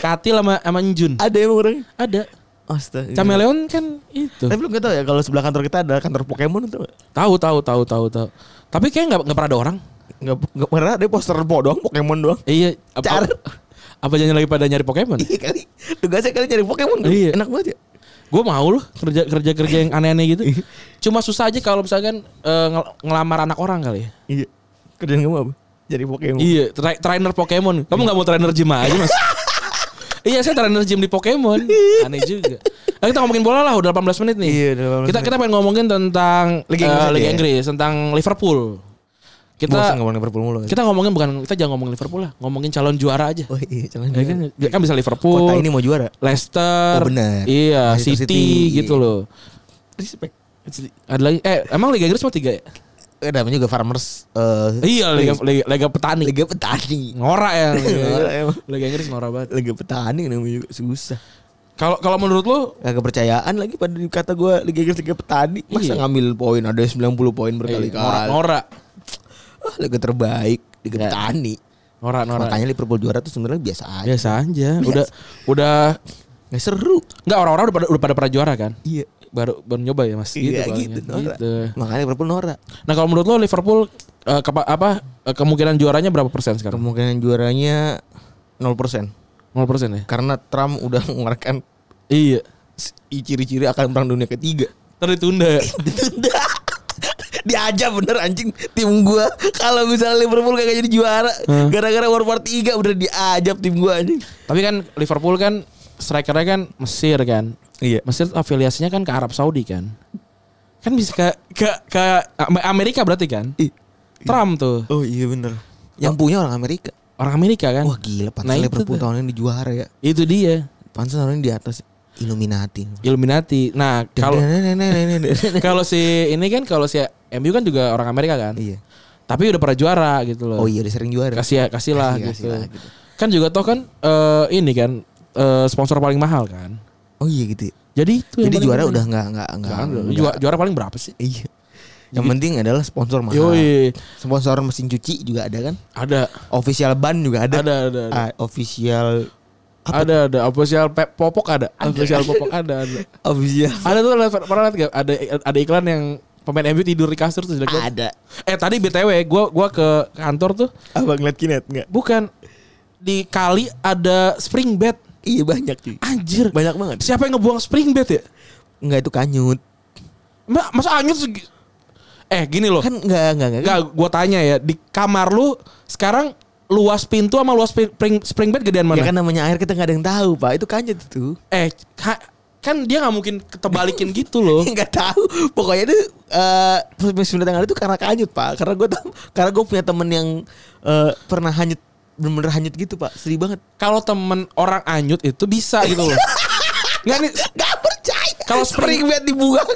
Speaker 2: Katil sama sama Njun.
Speaker 3: Ada emang orang.
Speaker 2: Ada.
Speaker 3: Astaga.
Speaker 2: Chameleon kan itu.
Speaker 3: Tapi lu gak tau ya kalau sebelah kantor kita ada kantor Pokemon ya? itu gak?
Speaker 2: Tahu tahu tahu tahu tahu. Tapi kayak nggak nggak pernah ada orang.
Speaker 3: Gak, gak pernah ada poster po doang, Pokemon doang. (laughs)
Speaker 2: Iya. Apa,
Speaker 3: Car.
Speaker 2: apa jangan lagi pada nyari
Speaker 3: (laughs)
Speaker 2: Pokemon?
Speaker 3: Iya kali. Tugasnya kali cari Pokemon.
Speaker 2: Iya.
Speaker 3: Enak banget ya.
Speaker 2: Gue mau loh kerja kerja kerja yang aneh-aneh
Speaker 3: (laughs)
Speaker 2: gitu. Cuma susah aja kalau misalkan eh, ngel- ngelamar anak orang kali. ya.
Speaker 3: Iya. Kerjaan kamu apa? Jadi Pokemon.
Speaker 2: Iya, tra- trainer Pokemon. Kamu nggak mau trainer gym aja
Speaker 3: (laughs)
Speaker 2: mas? iya, saya trainer gym di Pokemon. Aneh juga. Nah, kita ngomongin bola lah, udah 18 menit nih.
Speaker 3: Iya, udah 18
Speaker 2: kita
Speaker 3: menit.
Speaker 2: kita pengen ngomongin tentang
Speaker 3: Liga
Speaker 2: eh,
Speaker 3: Inggris aja
Speaker 2: Liga
Speaker 3: ya?
Speaker 2: Inggris, tentang Liverpool. Kita
Speaker 3: Bosan ngomongin Liverpool mulu.
Speaker 2: kita ngomongin bukan kita jangan ngomongin Liverpool lah, ngomongin calon juara aja.
Speaker 3: Oh iya, jangan.
Speaker 2: Ya kan, ya kan bisa Liverpool.
Speaker 3: Kota ini mau juara.
Speaker 2: Leicester.
Speaker 3: Oh, benar.
Speaker 2: Iya, City,
Speaker 3: Leicester City.
Speaker 2: gitu loh.
Speaker 3: Respect.
Speaker 2: Ada lagi eh emang Liga Inggris cuma tiga ya?
Speaker 3: Eh, namanya juga farmers. eh,
Speaker 2: Iya, Liga Liga, Liga petani.
Speaker 3: Liga petani.
Speaker 2: Ngorak ya. Liga Inggris.
Speaker 3: Ngorak emang.
Speaker 2: Liga Inggris ngorak banget.
Speaker 3: Liga petani namanya juga susah.
Speaker 2: Kalau kalau menurut lu
Speaker 3: Gak kepercayaan lagi pada kata gue Liga Inggris Liga Petani
Speaker 2: Iya.
Speaker 3: Masa ngambil poin ada 90 poin
Speaker 2: Eh,
Speaker 3: berkali-kali
Speaker 2: Norak,
Speaker 3: ah, Liga terbaik Liga Petani
Speaker 2: norak, norak.
Speaker 3: Makanya Liverpool juara tuh sebenarnya biasa aja
Speaker 2: biasa aja. Udah udah
Speaker 3: Gak seru
Speaker 2: enggak orang-orang udah pada udah pada pernah juara kan?
Speaker 3: Iya
Speaker 2: baru baru nyoba ya mas
Speaker 3: Iya
Speaker 2: palingnya.
Speaker 3: gitu, Nora.
Speaker 2: Gitu.
Speaker 3: Makanya Liverpool Nora.
Speaker 2: nah kalau menurut lo Liverpool eh, kepa- apa eh, kemungkinan juaranya berapa persen sekarang
Speaker 3: Kemungkinan juaranya 0%
Speaker 2: 0 persen ya
Speaker 3: karena Trump udah (laughs) mengeluarkan
Speaker 2: iya
Speaker 3: s- ciri-ciri akan perang dunia ketiga.
Speaker 2: terus ditunda
Speaker 3: Ditunda. (laughs) Diajak bener anjing tim gua kalau misalnya Liverpool kagak jadi juara
Speaker 2: Hah?
Speaker 3: gara-gara World War 3 udah diajak tim gua anjing.
Speaker 2: tapi kan Liverpool kan strikernya kan Mesir kan
Speaker 3: Iya.
Speaker 2: Mesir afiliasinya kan ke Arab Saudi kan kan bisa ke ke ke Amerika berarti kan Trump tuh
Speaker 3: Oh iya bener. Yang punya orang Amerika.
Speaker 2: orang Amerika kan
Speaker 3: Wah gila pantas
Speaker 2: Nah, itu
Speaker 3: Liverpool
Speaker 2: tuh.
Speaker 3: tahun ini juara ya.
Speaker 2: itu dia
Speaker 3: Pantas tahun ini di atas Illuminati.
Speaker 2: Illuminati
Speaker 3: (laughs)
Speaker 2: nah kalau kalau si ini kan kalau si MU kan juga orang Amerika kan
Speaker 3: Iya.
Speaker 2: tapi udah pernah juara gitu loh
Speaker 3: Oh iya udah sering juara.
Speaker 2: kasih kasih lah
Speaker 3: Kasih-
Speaker 2: gitu.
Speaker 3: kasih lah gitu.
Speaker 2: kan juga toh kan eh, ini kan eh, sponsor paling mahal kan
Speaker 3: Oh iya gitu. ya.
Speaker 2: jadi itu yang
Speaker 3: Jadi
Speaker 2: paling
Speaker 3: juara
Speaker 2: penting.
Speaker 3: udah nggak nggak nggak.
Speaker 2: Jangan,
Speaker 3: nggak-
Speaker 2: juara, juara paling berapa sih
Speaker 3: Iya. Yang penting adalah sponsor mahal.
Speaker 2: Yoi.
Speaker 3: Sponsor mesin cuci juga ada kan?
Speaker 2: ada
Speaker 3: Official ban juga ada.
Speaker 2: ada ada ada
Speaker 3: Ah, official
Speaker 2: ada ada official pe- popok ada official popok ada
Speaker 3: (laughs)
Speaker 2: ada
Speaker 3: official
Speaker 2: ada tuh lihat- pernah lihat gak ada ada iklan yang pemain MU tidur di kasur terus jelek banget.
Speaker 3: ada.
Speaker 2: eh tadi btw gue gua ke kantor tuh
Speaker 3: Abang ngeliat kinet nggak?
Speaker 2: bukan di kali ada spring bed
Speaker 3: Iya banyak sih.
Speaker 2: anjir
Speaker 3: Banyak banget.
Speaker 2: siapa yang ngebuang spring bed ya
Speaker 3: Nggak itu kanyut.
Speaker 2: Mbak, masa anyut segi- Eh gini loh.
Speaker 3: Kan nggak nggak nggak.
Speaker 2: Enggak, gua tanya ya, di kamar lu sekarang luas pintu sama luas pi- spring, spring bed gedean
Speaker 3: Ya
Speaker 2: mana?
Speaker 3: kan namanya air kita nggak ada yang tahu pak. Itu kanyut itu.
Speaker 2: Eh, ka- kan dia nggak mungkin ketebalikin gitu
Speaker 3: (laughs)
Speaker 2: loh.
Speaker 3: nggak tahu pokoknya itu eh sembilan tangan itu karena kanyut pak karena gue tahu karena gue punya temen yang eh, pernah hanyut bener-bener hanyut gitu pak sedih
Speaker 2: (laughs)
Speaker 3: banget
Speaker 2: Kalau temen orang anyut itu bisa gitu
Speaker 3: (laughs)
Speaker 2: loh. Enggak nih,
Speaker 3: Gak percaya
Speaker 2: Kalau spring-
Speaker 3: spring bed dibuang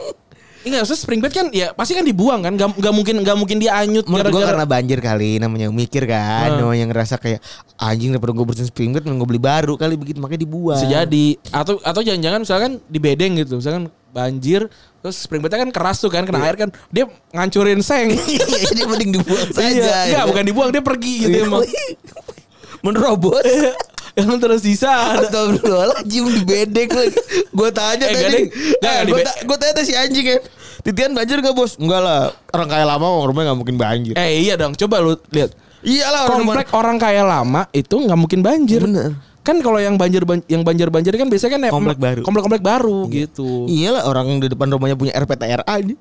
Speaker 2: enggak usah spring bed kan ya pasti kan dibuang kan, nggak nggak mungkin nggak mungkin dia anyut
Speaker 3: Menurut gue
Speaker 2: gara-gara-
Speaker 3: karena banjir kali namanya mikir
Speaker 2: Hmm.
Speaker 3: kan namanya ngerasa kayak anjing daripada gue bersihin spring bed mending gue beli baru kali begitu makanya dibuang
Speaker 2: bisa jadi atau atau jangan-jangan misalkan di bedeng gitu, misalkan banjir terus spring bednya kan keras tuh kan kena air kan dia ngancurin
Speaker 3: (laughs)
Speaker 2: seng.
Speaker 3: (laughs) Iya, jadi mending dibuang
Speaker 2: Iya,
Speaker 3: saja ya
Speaker 2: enggak,
Speaker 3: kan?
Speaker 2: bukan dibuang dia pergi gitu
Speaker 3: Iya. (laughs)
Speaker 2: emang. (laughs)
Speaker 3: menerobos
Speaker 2: Yang terus sisa ada.
Speaker 3: Astagfirullahaladzim dibedek lagi Gue tanya
Speaker 2: Eh,
Speaker 3: tadi
Speaker 2: gading. Nggak, nggak dibe-
Speaker 3: Gue tanya si anjing kan Titian banjir gak bos? Enggak lah Orang kaya lama orang rumahnya gak mungkin banjir
Speaker 2: Eh iya dong, coba lu lihat.
Speaker 3: Iyalah orang
Speaker 2: Komplek orang kaya lama itu nggak mungkin banjir.
Speaker 3: Bener.
Speaker 2: Kan kalau yang banjir ban- yang banjir banjir kan biasanya kan em-
Speaker 3: Komplek baru. Iya.
Speaker 2: Komplek-komplek baru gitu.
Speaker 3: Iyalah orang di depan rumahnya punya RPTRA aja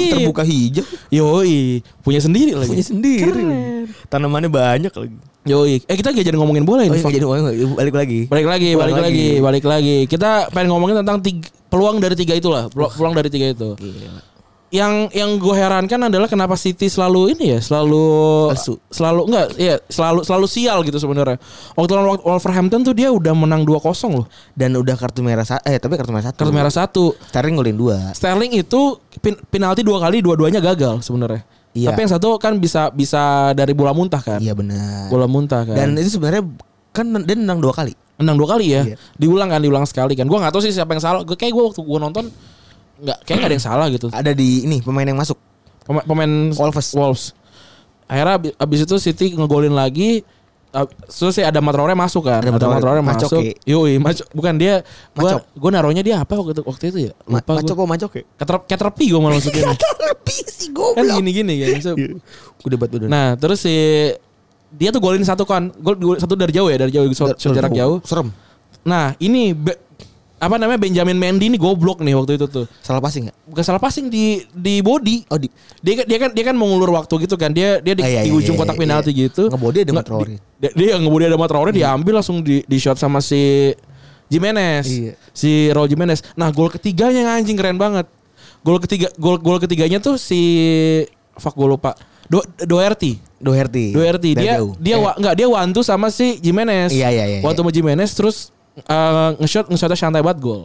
Speaker 2: (laughs) Iya.
Speaker 3: terbuka hijau
Speaker 2: Yoi, punya sendiri lagi.
Speaker 3: Punya sendiri Tanamannya banyak lagi
Speaker 2: Yoi. Eh kita nggak jadi ngomongin bola
Speaker 3: Oh,
Speaker 2: ini.
Speaker 3: iya,
Speaker 2: Fak.
Speaker 3: jadi uang, balik lagi
Speaker 2: Balik lagi,
Speaker 3: Pulang
Speaker 2: balik lagi.
Speaker 3: lagi.
Speaker 2: balik lagi. Kita pengen ngomongin tentang tiga- peluang dari tiga itulah, Pelu- peluang dari tiga itu. yang yang gue herankan adalah kenapa City selalu ini ya selalu
Speaker 3: Lesu.
Speaker 2: selalu enggak ya selalu selalu sial gitu sebenarnya waktu lawan Wolverhampton tuh dia udah menang 2-0 loh
Speaker 3: Dan udah kartu merah sa- Eh tapi kartu merah satu
Speaker 2: kartu merah satu
Speaker 3: Sterling ngolin dua
Speaker 2: Sterling itu pin- penalti dua kali dua-duanya gagal sebenarnya
Speaker 3: Iya.
Speaker 2: tapi yang satu kan bisa bisa dari bola muntah kan
Speaker 3: Iya benar
Speaker 2: bola muntah kan
Speaker 3: Dan itu sebenarnya Kan dia menang dua kali
Speaker 2: menang dua kali ya
Speaker 3: Iya.
Speaker 2: diulang kan diulang sekali kan gue nggak tahu sih siapa yang salah gue kayak gue waktu gue nonton nggak kayak nggak ada yang salah
Speaker 3: (clears throat)
Speaker 2: gitu
Speaker 3: Ada di ini pemain yang masuk
Speaker 2: Pema- pemain
Speaker 3: Wolves
Speaker 2: Wolves. Akhirnya abis, abis itu City ngegolin lagi. ab- Terus si ada Matraore masuk kan. Ada
Speaker 3: Ada
Speaker 2: Matraore
Speaker 3: Matraore,
Speaker 2: masuk.
Speaker 3: Macoki.
Speaker 2: Yoi, maco- bukan dia gua
Speaker 3: Macok.
Speaker 2: gua naruhnya dia apa waktu itu, waktu itu ya?
Speaker 3: Ma
Speaker 2: Lupa
Speaker 3: macok
Speaker 2: gua.
Speaker 3: kok macok ya?
Speaker 2: Keter, keterpi gua malah
Speaker 3: (laughs)
Speaker 2: masukin.
Speaker 3: Terlebih sih
Speaker 2: kan
Speaker 3: goblok. Iya.
Speaker 2: gini-gini kan. Maksudnya-
Speaker 3: Gue debat udah.
Speaker 2: Nah, terus si dia tuh golin satu kan. Gol gol satu dari jauh ya, dari jauh shot, shot jarak jauh.
Speaker 3: Serem.
Speaker 2: Nah, ini be- apa namanya Benjamin Mendy ini goblok nih waktu itu tuh.
Speaker 3: Salah passing enggak?
Speaker 2: Bukan salah passing di di body.
Speaker 3: Oh di
Speaker 2: dia kan dia kan dia kan mengulur waktu gitu kan dia dia di,
Speaker 3: Ah, iya,
Speaker 2: di
Speaker 3: iya,
Speaker 2: ujung
Speaker 3: iya,
Speaker 2: kotak
Speaker 3: iya.
Speaker 2: penalti gitu
Speaker 3: Ngebody ada
Speaker 2: Nggak,
Speaker 3: Matraore.
Speaker 2: di- dia, dia yang ngebody ada Matraore
Speaker 3: Iya.
Speaker 2: diambil langsung di di shot sama si Jimenez
Speaker 3: Iya.
Speaker 2: si Raul Jimenez nah gol ketiganya yang anjing keren banget gol ketiga gol gol ketiganya tuh si fuck gue lupa Do, Doherty
Speaker 3: Doherty.
Speaker 2: Doherty
Speaker 3: Dari
Speaker 2: dia
Speaker 3: Iya, jauh.
Speaker 2: dia
Speaker 3: Eh,
Speaker 2: wa- nggak dia wantu sama si Jimenez
Speaker 3: Iya, iya, iya,
Speaker 2: wantu sama Jimenez terus eh, nge-shot nge-shotnya santai banget gol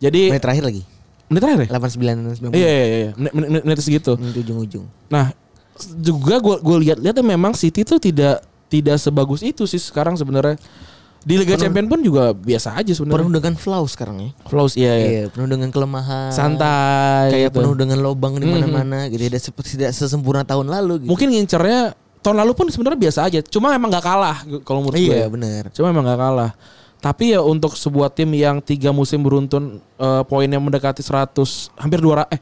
Speaker 2: jadi
Speaker 3: menit terakhir lagi.
Speaker 2: menit terakhir ya?
Speaker 3: 89 90.
Speaker 2: Iya iya iya menit, menit, menit segitu
Speaker 3: Menit ujung-ujung.
Speaker 2: Nah, s- juga gue gue lihat-lihat ya memang City tuh tidak tidak sebagus itu sih sekarang sebenarnya. Di Liga Champions pun juga biasa aja
Speaker 3: Penuh
Speaker 2: sebenarnya.
Speaker 3: dengan flaw sekarang ya.
Speaker 2: Close iya, iya.
Speaker 3: Iya, penuh dengan kelemahan.
Speaker 2: Santai
Speaker 3: Kayak
Speaker 2: gitu.
Speaker 3: penuh dengan lobang di mana-mana gitu. Tidak sep- tidak sesempurna tahun lalu gitu.
Speaker 2: Mungkin ngincernya tahun lalu pun sebenarnya biasa aja. Cuma emang nggak kalah kalau menurut ya. gue.
Speaker 3: Iya, benar.
Speaker 2: Cuma emang nggak kalah. Tapi ya untuk sebuah tim yang tiga musim beruntun eh, poinnya mendekati 100 hampir 200 eh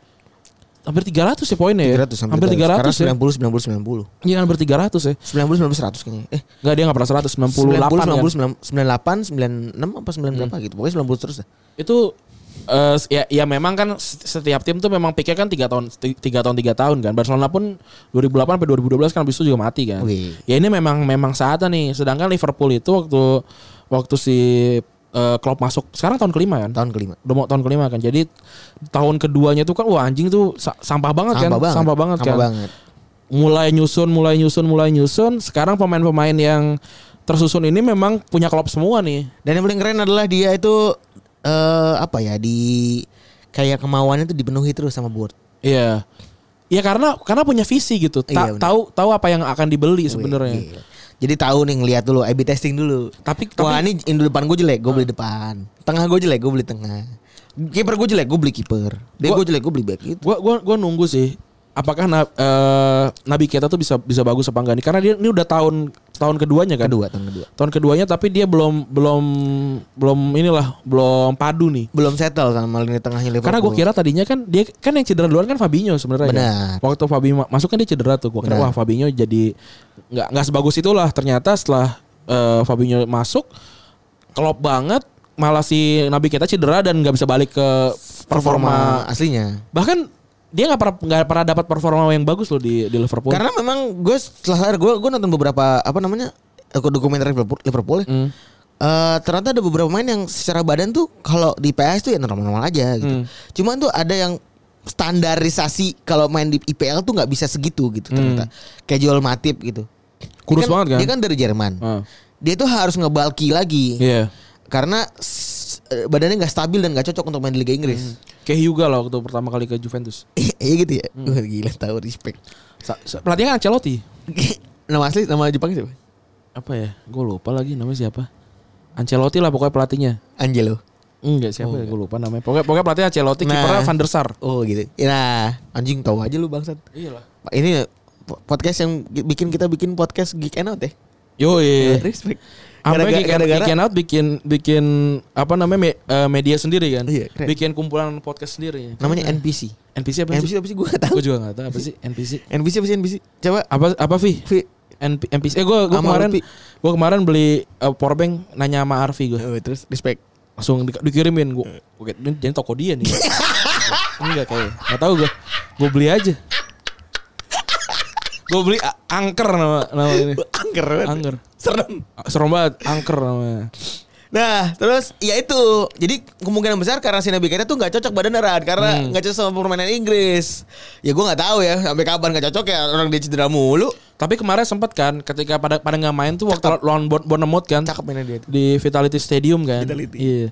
Speaker 2: hampir 300 ya poinnya ya.
Speaker 3: 300 sampai
Speaker 2: hampir 300, ya.
Speaker 3: Sekarang 90 90 90.
Speaker 2: Iya hampir 300 ya.
Speaker 3: 90 90 100 kayaknya. Eh,
Speaker 2: Enggak dia enggak pernah 100 98 kan.
Speaker 3: 90 90 98 96 apa 9 berapa gitu. Pokoknya 90 terus dah.
Speaker 2: itu eh, ya ya memang kan setiap tim tuh memang pikir kan tiga tahun tiga tahun tiga tahun kan Barcelona pun 2008 sampai 2012 kan habis itu juga mati kan
Speaker 3: Wih.
Speaker 2: ya ini memang memang saatnya nih sedangkan Liverpool itu waktu waktu si eh, Klopp masuk sekarang tahun kelima kan
Speaker 3: Tahun kelima.
Speaker 2: udah mau tahun kelima kan jadi tahun keduanya tuh kan wah anjing tuh sa- sampah banget kan sampah banget
Speaker 3: Sampah
Speaker 2: kan
Speaker 3: banget.
Speaker 2: mulai nyusun, mulai nyusun, mulai nyusun. Sekarang pemain-pemain yang tersusun ini memang punya klub semua nih.
Speaker 3: Dan yang paling keren adalah dia itu eh apa ya di kayak kemauannya itu dipenuhi terus sama board.
Speaker 2: Iya. Iya karena karena punya visi gitu. Ta-
Speaker 3: Iya, benar.
Speaker 2: tahu tahu apa yang akan dibeli sebenarnya.
Speaker 3: Gila. Iya. Jadi tahu nih ngeliat dulu, A/B testing dulu.
Speaker 2: Tapi
Speaker 3: Wah
Speaker 2: tapi
Speaker 3: ini Indo depan gue jelek, gue beli depan. Tengah gue jelek, gue beli tengah. Kiper gue jelek, gue beli kiper. Back
Speaker 2: Gua-
Speaker 3: gue jelek, gue beli gitu. back itu.
Speaker 2: gua gua gua nunggu sih apakah na, eh, Nabi Keita tuh bisa bisa bagus apa enggak nih? Karena dia ini udah tahun tahun keduanya kan.
Speaker 3: Kedua, tahun kedua.
Speaker 2: Tahun keduanya tapi dia belum belum belum inilah belum padu nih.
Speaker 3: Belum settle sama lini tengahnya Liverpool.
Speaker 2: Karena gue kira tadinya kan dia kan yang cedera duluan kan Fabinho sebenarnya. kan.
Speaker 3: Benar.
Speaker 2: Waktu Fabinho ma- masuk kan dia cedera tuh. Gue kira
Speaker 3: Benar.
Speaker 2: wah Fabinho jadi nggak nggak sebagus itulah. Ternyata setelah eh, Fabinho masuk, klop banget. Malah si Nabi kita cedera dan nggak bisa balik ke
Speaker 3: performa
Speaker 2: performa.
Speaker 3: aslinya.
Speaker 2: Bahkan dia nggak pernah nggak pernah dapat performa yang bagus loh di di Liverpool.
Speaker 3: Karena memang gue setelah sadar gue gue nonton beberapa apa namanya eh, dokumenter Liverpool, Liverpool ya.
Speaker 2: Hmm.
Speaker 3: Eh, ternyata ada beberapa pemain yang secara badan tuh kalau di PS tuh ya normal-normal aja gitu.
Speaker 2: Hmm.
Speaker 3: Cuman tuh ada yang standarisasi kalau main di IPL tuh nggak bisa segitu gitu ternyata. Kayak Joel Matip gitu.
Speaker 2: Hmm. Kurus
Speaker 3: Dia
Speaker 2: banget kan?
Speaker 3: Dia kan dari Jerman.
Speaker 2: Ah.
Speaker 3: Dia tuh harus ngebalki lagi.
Speaker 2: Iya.
Speaker 3: Karena s- eh, badannya nggak stabil dan nggak cocok untuk main di Liga Inggris.
Speaker 2: Kayak Hyuga lah waktu pertama kali ke Juventus.
Speaker 3: (laughs) Iya gitu ya. Wah, Gila tahu respect.
Speaker 2: Hmm. Sa- sa- Pelatihnya kan Ancelotti.
Speaker 3: (laughs) nama asli nama Jepangnya siapa?
Speaker 2: Apa ya? Gue lupa lagi namanya siapa. Ancelotti lah pokoknya pelatihnya.
Speaker 3: Angelo.
Speaker 2: Enggak siapa ya gue lupa namanya. Pokoknya pokoknya pelatihnya Ancelotti,
Speaker 3: Oh, Nah.
Speaker 2: kipernya Van der Sar.
Speaker 3: Oh gitu. Nah, anjing tahu aja lu bangsat.
Speaker 2: Iyalah.
Speaker 3: Ini po- podcast yang gi- bikin kita bikin podcast Geek and Out ya.
Speaker 2: Yo,
Speaker 3: Respect.
Speaker 2: Sampai
Speaker 3: Gara-gara-
Speaker 2: Geek and-
Speaker 3: gara-gara-
Speaker 2: Geek and Out bikin bikin apa namanya me- eh, media sendiri kan?
Speaker 3: Iya, keren.
Speaker 2: bikin kumpulan podcast sendiri.
Speaker 3: namanya NPC.
Speaker 2: NPC apa sih?
Speaker 3: NPC apa sih gua enggak tahu.
Speaker 2: Gue juga gak tahu apa sih NPC.
Speaker 3: NPC apa sih NPC? Coba
Speaker 2: Apa apa Vi?
Speaker 3: Vi.
Speaker 2: NP, NPC. Eh gue
Speaker 3: Sama
Speaker 2: kemarin
Speaker 3: Lutfi.
Speaker 2: gue kemarin beli eh, powerbank nanya sama Arfi gue.
Speaker 3: Oh, terus respect.
Speaker 2: langsung di- dikirimin gue
Speaker 3: Iya.
Speaker 2: oke ini jadi toko dia nih enggak kayak nggak tahu gue gue beli aja gue beli a- angker nama nama ini
Speaker 3: Angker. banget.
Speaker 2: angker
Speaker 3: Serem.
Speaker 2: A- serem banget angker namanya
Speaker 3: Nah, terus ya itu. Jadi kemungkinan besar karena si Nabi Keita tuh nggak cocok badan Ran karena nggak cocok sama permainan Inggris. Ya gua nggak tahu ya sampai kapan nggak cocok ya orang dia cedera mulu.
Speaker 2: tapi kemarin sempat kan ketika pada pada nggak main tuh waktu lawan Bon- Bournemouth kan
Speaker 3: Cakep mainnya dia tuh.
Speaker 2: di Vitality Stadium kan
Speaker 3: Vitality.
Speaker 2: iya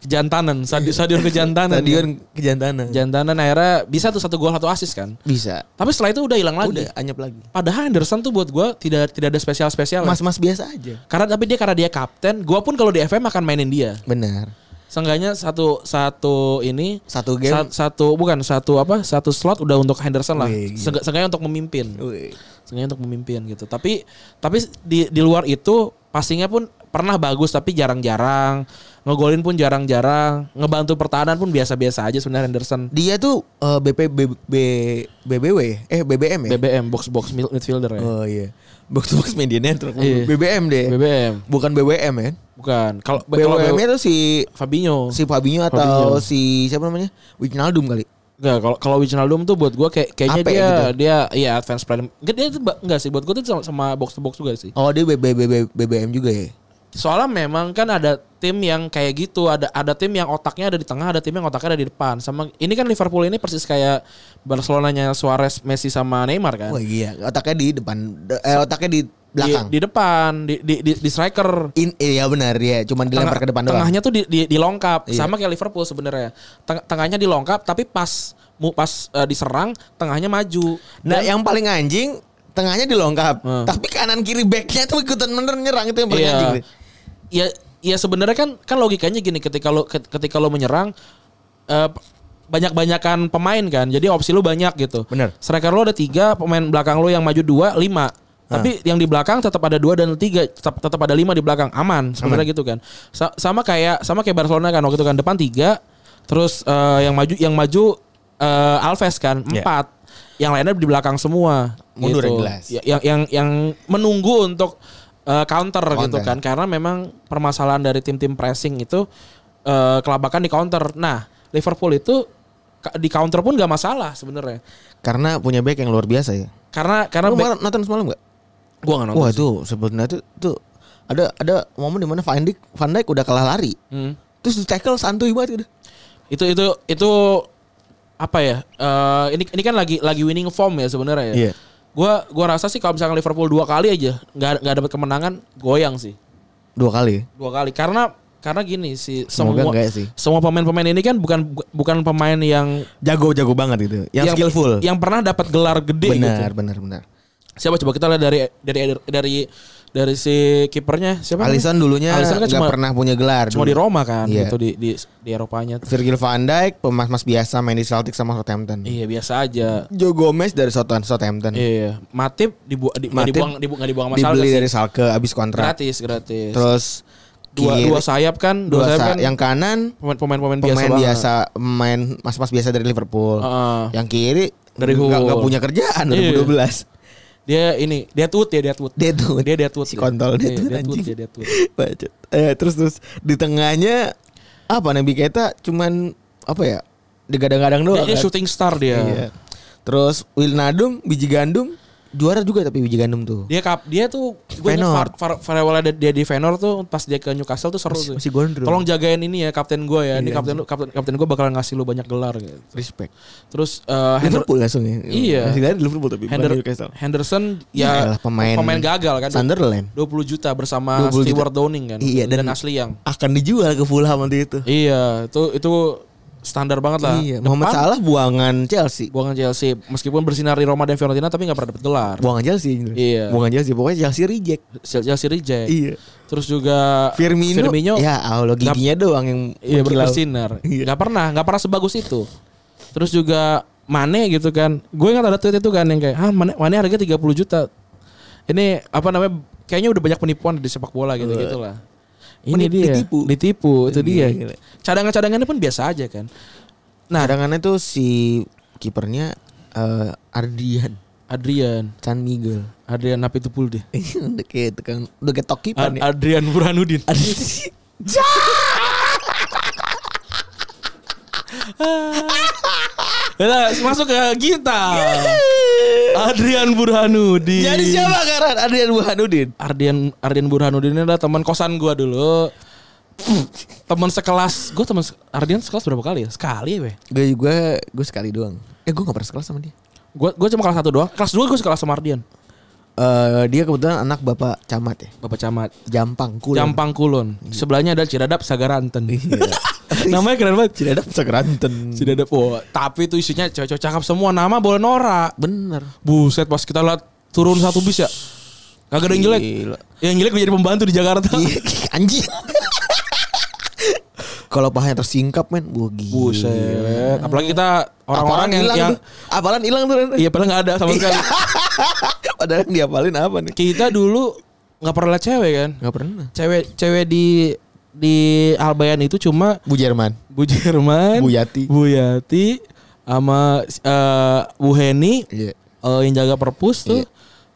Speaker 2: kejantanan stadion, stadion kejantanan
Speaker 3: Stadion kejantanan.
Speaker 2: kejantanan akhirnya bisa tuh satu gol satu asis kan
Speaker 3: Bisa.
Speaker 2: tapi setelah itu udah hilang lagi
Speaker 3: Udah anyap lagi.
Speaker 2: padahal Henderson tuh buat gue tidak tidak ada spesial spesial
Speaker 3: Mas-mas biasa aja.
Speaker 2: Karena tapi dia karena dia kapten, gua pun kalau di FM akan mainin dia.
Speaker 3: Benar.
Speaker 2: Seenggaknya satu satu ini
Speaker 3: Satu game.
Speaker 2: sa- satu bukan satu apa satu slot udah untuk Henderson lah.
Speaker 3: Wih, gila.
Speaker 2: Seenggak- Seenggaknya untuk memimpin.
Speaker 3: Wih.
Speaker 2: Seenggaknya untuk memimpin gitu. Tapi tapi di di luar itu passingnya pun pernah bagus tapi jarang-jarang. Ngegolin pun jarang-jarang, ngebantu pertahanan pun biasa-biasa aja sebenarnya Henderson.
Speaker 3: Dia tuh eh, BP B- B- BBW ya? Eh BBM ya?
Speaker 2: BBM box box midfielder ya.
Speaker 3: Oh iya. Box to box media network.
Speaker 2: Iya.
Speaker 3: BBM deh.
Speaker 2: BBM.
Speaker 3: Bukan BWM ya?
Speaker 2: Bukan. Kalau kalau
Speaker 3: BWM itu si
Speaker 2: Fabinho.
Speaker 3: si Fabinho atau si siapa namanya? Wijnaldum kali.
Speaker 2: Enggak, kalau kalau Wijnaldum tuh buat gua kayak kayaknya
Speaker 3: Ape
Speaker 2: dia
Speaker 3: gitu.
Speaker 2: dia iya advance player. Enggak dia tuh ba- enggak sih buat gua tuh sama, sama box to box juga sih.
Speaker 3: Oh dia B- B- B- B- BBM juga
Speaker 2: Iya.
Speaker 3: ya?
Speaker 2: Soalnya memang kan ada tim yang kayak gitu, ada ada tim yang otaknya ada di tengah, ada tim yang otaknya ada di depan. Sama ini kan Liverpool ini persis kayak Barcelonanya Suarez, Messi sama Neymar kan.
Speaker 3: Wah iya. Otaknya di depan. Eh otaknya di
Speaker 2: Di,
Speaker 3: belakang.
Speaker 2: Iya, di depan, di di di, di striker.
Speaker 3: In, iya benar ya. Cuman dilempar
Speaker 2: Tengah-
Speaker 3: ke depan doang. Iya.
Speaker 2: Tengahnya tuh di, di, dilongkap sama kayak Liverpool sebenarnya. Teng- tengahnya dilongkap tapi pas mu- pas eh, diserang tengahnya maju.
Speaker 3: Nah
Speaker 2: Dan-
Speaker 3: yang paling anjing tengahnya dilongkap.
Speaker 2: Hmm.
Speaker 3: Tapi kanan kiri backnya tuh ikutan bener nyerang itu yang paling
Speaker 2: Iya.
Speaker 3: anjing. deh.
Speaker 2: Ya ya sebenarnya kan kan logikanya gini ketika lo ket- ketika lo menyerang eh, p- banyak-banyakan pemain kan. Jadi opsi lo banyak gitu.
Speaker 3: Bener.
Speaker 2: Striker lo ada tiga, pemain belakang lo yang maju dua, lima.
Speaker 3: Ah.
Speaker 2: Tapi yang di belakang tetap ada dua dan tiga, tetap tetap ada lima di belakang aman sebenarnya gitu kan. Sa- sama kayak sama kayak Barcelona kan waktu itu kan depan tiga, terus eh, yang maju yang maju eh, Alves kan
Speaker 3: Iya.
Speaker 2: empat, yang lainnya di belakang semua.
Speaker 3: Mundur yang
Speaker 2: gitu.
Speaker 3: jelas.
Speaker 2: Ya- Yang yang yang menunggu untuk eh, counter, gitu
Speaker 3: Counter.
Speaker 2: kan karena memang permasalahan dari tim-tim pressing itu eh, kelabakan di counter. Nah Liverpool itu ka- di counter pun gak masalah sebenarnya
Speaker 3: Karena punya back yang luar biasa ya.
Speaker 2: karena karena
Speaker 3: Lu
Speaker 2: back-
Speaker 3: mar- nonton semalam nggak?
Speaker 2: gua gak nonton
Speaker 3: Wah
Speaker 2: sih.
Speaker 3: itu sebenarnya tuh, tuh ada ada momen dimana Van Dijk Van Dijk udah kalah lari.
Speaker 2: Hmm.
Speaker 3: Terus di tackle santuy banget gitu. udah.
Speaker 2: itu itu itu apa ya Eh ini ini kan lagi lagi winning form ya sebenarnya ya
Speaker 3: Iya.
Speaker 2: gua gua rasa sih kalau misalkan Liverpool dua kali aja nggak nggak dapat kemenangan goyang sih
Speaker 3: Dua kali. ya?
Speaker 2: dua kali karena karena gini sih
Speaker 3: Semoga
Speaker 2: semua
Speaker 3: enggak sih.
Speaker 2: semua pemain-pemain ini kan bukan bukan pemain yang
Speaker 3: Jago-jago banget gitu. Yang, skillful.
Speaker 2: yang pernah dapat gelar
Speaker 3: iya,
Speaker 2: gede gitu.
Speaker 3: benar, benar, benar.
Speaker 2: Siapa coba kita lihat dari dari dari dari si kipernya siapa? namanya?
Speaker 3: Alisson dulunya
Speaker 2: Alisson kan
Speaker 3: nggak
Speaker 2: cuma
Speaker 3: pernah punya gelar.
Speaker 2: cuma di
Speaker 3: dulu.
Speaker 2: Roma kan
Speaker 3: Iya.
Speaker 2: gitu di di di Eropanya.
Speaker 3: Virgil van Dijk pemas-mas biasa main di Celtic sama Southampton.
Speaker 2: Iya biasa aja.
Speaker 3: Joe Gomez dari Southampton, Southampton.
Speaker 2: Iya, Matip dibu di, nggak
Speaker 3: Matip
Speaker 2: dibuang dibu nggak dibuang masalah
Speaker 3: Dibeli
Speaker 2: sih.
Speaker 3: dari Salke abis kontrak.
Speaker 2: gratis gratis.
Speaker 3: Terus
Speaker 2: dua
Speaker 3: kiri-
Speaker 2: dua sayap kan, dua,
Speaker 3: dua
Speaker 2: sayap
Speaker 3: sa-
Speaker 2: kan
Speaker 3: yang kanan
Speaker 2: pemain- pemain-pemain biasa.
Speaker 3: pemain
Speaker 2: banget.
Speaker 3: biasa, Ya. pemain mas-mas biasa dari Liverpool.
Speaker 2: Heeh.
Speaker 3: Yang kiri
Speaker 2: Dari
Speaker 3: nggak-
Speaker 2: Hull.
Speaker 3: nggak punya kerjaan
Speaker 2: Iya.
Speaker 3: 2012.
Speaker 2: Dia ini, dia tut ya, dia tut.
Speaker 3: Dia tuh
Speaker 2: Dia dia tut.
Speaker 3: Si kontol dia tuh,
Speaker 2: dia tut,
Speaker 3: anjing.
Speaker 2: dia dia tut.
Speaker 3: (laughs) Bacot. Eh, terus terus di tengahnya apa Nabi Keita cuman apa ya? Digadang-gadang
Speaker 2: Dia,
Speaker 3: doang.
Speaker 2: dia
Speaker 3: kan?
Speaker 2: shooting star dia.
Speaker 3: Iya. Terus Wilnadum biji gandum juara juga tapi biji gandum tuh.
Speaker 2: Dia kap dia tuh gue inget
Speaker 3: Feyenoord.
Speaker 2: Far, Far, Farewell ada- dia di Feyenoord tuh pas dia ke Newcastle tuh seru tuh.
Speaker 3: masih gondrong. Iya,
Speaker 2: Tolong jagain ini ya kapten gue ya. Ini kapten lu kapten kapten gue bakalan ngasih lu banyak gelar gitu.
Speaker 3: Respect.
Speaker 2: Terus eh, Hender-
Speaker 3: Liverpool langsung ya.
Speaker 2: Iya.
Speaker 3: Masih dari Liverpool tapi bukan
Speaker 2: Hender-
Speaker 3: Newcastle.
Speaker 2: Henderson ya
Speaker 3: Yaelah, pemain-
Speaker 2: gagal kan.
Speaker 3: Sunderland
Speaker 2: 20 juta bersama
Speaker 3: 20 juta.
Speaker 2: Stewart Downing kan
Speaker 3: Iya, dan-
Speaker 2: Ashley Young.
Speaker 3: akan dijual ke Fulham nanti itu.
Speaker 2: Iya, itu itu standar banget lah.
Speaker 3: Iya, Muhammad Salah buangan Chelsea.
Speaker 2: buangan Chelsea meskipun bersinar di Roma dan Fiorentina tapi nggak pernah dapat gelar.
Speaker 3: Buangan Chelsea.
Speaker 2: Iya.
Speaker 3: Buangan Chelsea pokoknya Chelsea reject.
Speaker 2: Chelsea reject.
Speaker 3: Iya.
Speaker 2: Terus juga
Speaker 3: Firmino, ya Allah giginya doang yang
Speaker 2: Iya
Speaker 3: mengkilau.
Speaker 2: bersinar.
Speaker 3: Iya.
Speaker 2: Gak pernah, gak pernah sebagus itu. Terus juga Mane gitu kan. Gue ingat ada tweet itu kan yang kayak, ah Mane, Mane harga 30 juta. Ini apa namanya? Kayaknya udah banyak penipuan di sepak bola gitu gitulah. Ini
Speaker 3: Menip-
Speaker 2: dia
Speaker 3: ditipu.
Speaker 2: ditipu itu dia.
Speaker 3: Gila.
Speaker 2: Cadangan-cadangannya pun biasa aja kan. Nah,
Speaker 3: Cadangannya tuh si kipernya eh, Ardian
Speaker 2: Adrian,
Speaker 3: San Miguel. (laughs)
Speaker 2: Adrian Kan, Napitupul deh.
Speaker 3: udah kayak tukang udah kayak top kiper
Speaker 2: Ad-
Speaker 3: nih.
Speaker 2: Ah, Adrian Burhanuddin. Nah, masuk ke Gita. Adrian Burhanuddin.
Speaker 3: (laughs) Jadi siapa Karan? Ardian Burhanuddin.
Speaker 2: Ardian Ardian Burhanuddin ini adalah teman kosan gua dulu. teman sekelas, gua teman se- Ardian sekelas berapa kali ya? Sekali ya, weh.
Speaker 3: Gue gue gue sekali doang. Eh gue gak pernah sekelas sama dia.
Speaker 2: Gua gua cuma kelas satu doang. Kelas 2 gua sekelas sama Ardian.
Speaker 3: Eh dia kebetulan anak bapak camat ya.
Speaker 2: Bapak Camat.
Speaker 3: Jampang Kulon.
Speaker 2: Jampang Kulon. Sebelahnya ada Ciradap Sagaranten. (laughs) Namanya keren banget.
Speaker 3: Ciradap
Speaker 2: (laughs)
Speaker 3: Sekeranten.
Speaker 2: Ciradap. Wah, tapi itu isinya cewek-cewek cakep semua. Nama boleh norak.
Speaker 3: Bener.
Speaker 2: Buset pas kita lihat turun satu bis ya. Kagak ada yang jelek.
Speaker 3: Gila.
Speaker 2: Yang jelek menjadi pembantu di Jakarta.
Speaker 3: Iya. (laughs) Anjing. Kalau pahanya tersingkap men, wah gila.
Speaker 2: Buset. Apalagi kita orang-orang
Speaker 3: Apalan
Speaker 2: yang,
Speaker 3: hilang
Speaker 2: yang
Speaker 3: tuh. apalan hilang tuh. Ren.
Speaker 2: iya padahal nggak ada sama sekali.
Speaker 3: Padahal yang diapalin apa nih?
Speaker 2: kita dulu nggak pernah lihat cewek kan.
Speaker 3: Gak pernah.
Speaker 2: Cewek cewek di di Albayan itu cuma
Speaker 3: Bu Jerman.
Speaker 2: Bu Jerman,
Speaker 3: Bu Yati.
Speaker 2: Bu Yati sama eh, Bu Heni
Speaker 3: Iya.
Speaker 2: eh, yang jaga perpus tuh.
Speaker 3: Iya.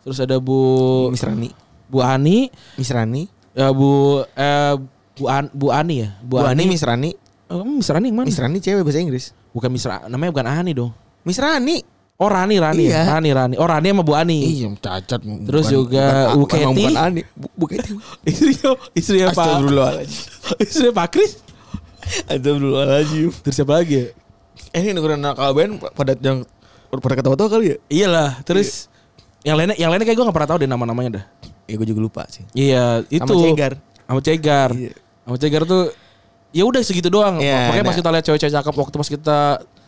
Speaker 2: Terus ada Bu
Speaker 3: Misrani.
Speaker 2: Bu Ani,
Speaker 3: Misrani.
Speaker 2: eh, Bu eh, Bu, An- Bu Ani ya,
Speaker 3: Bu, Ani Misrani.
Speaker 2: Oh, Misrani yang mana?
Speaker 3: Misrani cewek bahasa Inggris.
Speaker 2: Bukan Misra, namanya bukan Ani dong.
Speaker 3: Misrani.
Speaker 2: Oh Rani, Rani,
Speaker 3: Iya.
Speaker 2: ya? Rani, Rani. Oh Rani sama Bu Ani.
Speaker 3: cacat.
Speaker 2: Terus juga
Speaker 3: bukan,
Speaker 2: Bu
Speaker 3: bukan, emang
Speaker 2: Kety.
Speaker 3: bukan Ani. Bu, Bu (laughs) Kety.
Speaker 2: (laughs) Istrinya, istrinya Pak,
Speaker 3: Astagfirullahaladzim.
Speaker 2: (laughs) istrinya Pak Kris.
Speaker 3: Astagfirullahaladzim.
Speaker 2: Terus siapa lagi? ya?
Speaker 3: Eh, ini dengerin anak Alben pada yang pada ketawa-tawa kali ya?
Speaker 2: Iyalah, terus yang lainnya, yang lainnya kayak gue gak pernah tahu deh nama-namanya dah.
Speaker 3: Ya gue juga lupa sih.
Speaker 2: Iya, itu.
Speaker 3: Sama Cegar.
Speaker 2: Sama Cegar.
Speaker 3: Iya.
Speaker 2: Sama Cegar tuh ya udah segitu doang.
Speaker 3: Iya,
Speaker 2: Makanya pas
Speaker 3: nah.
Speaker 2: kita lihat cewek-cewek cakep waktu pas kita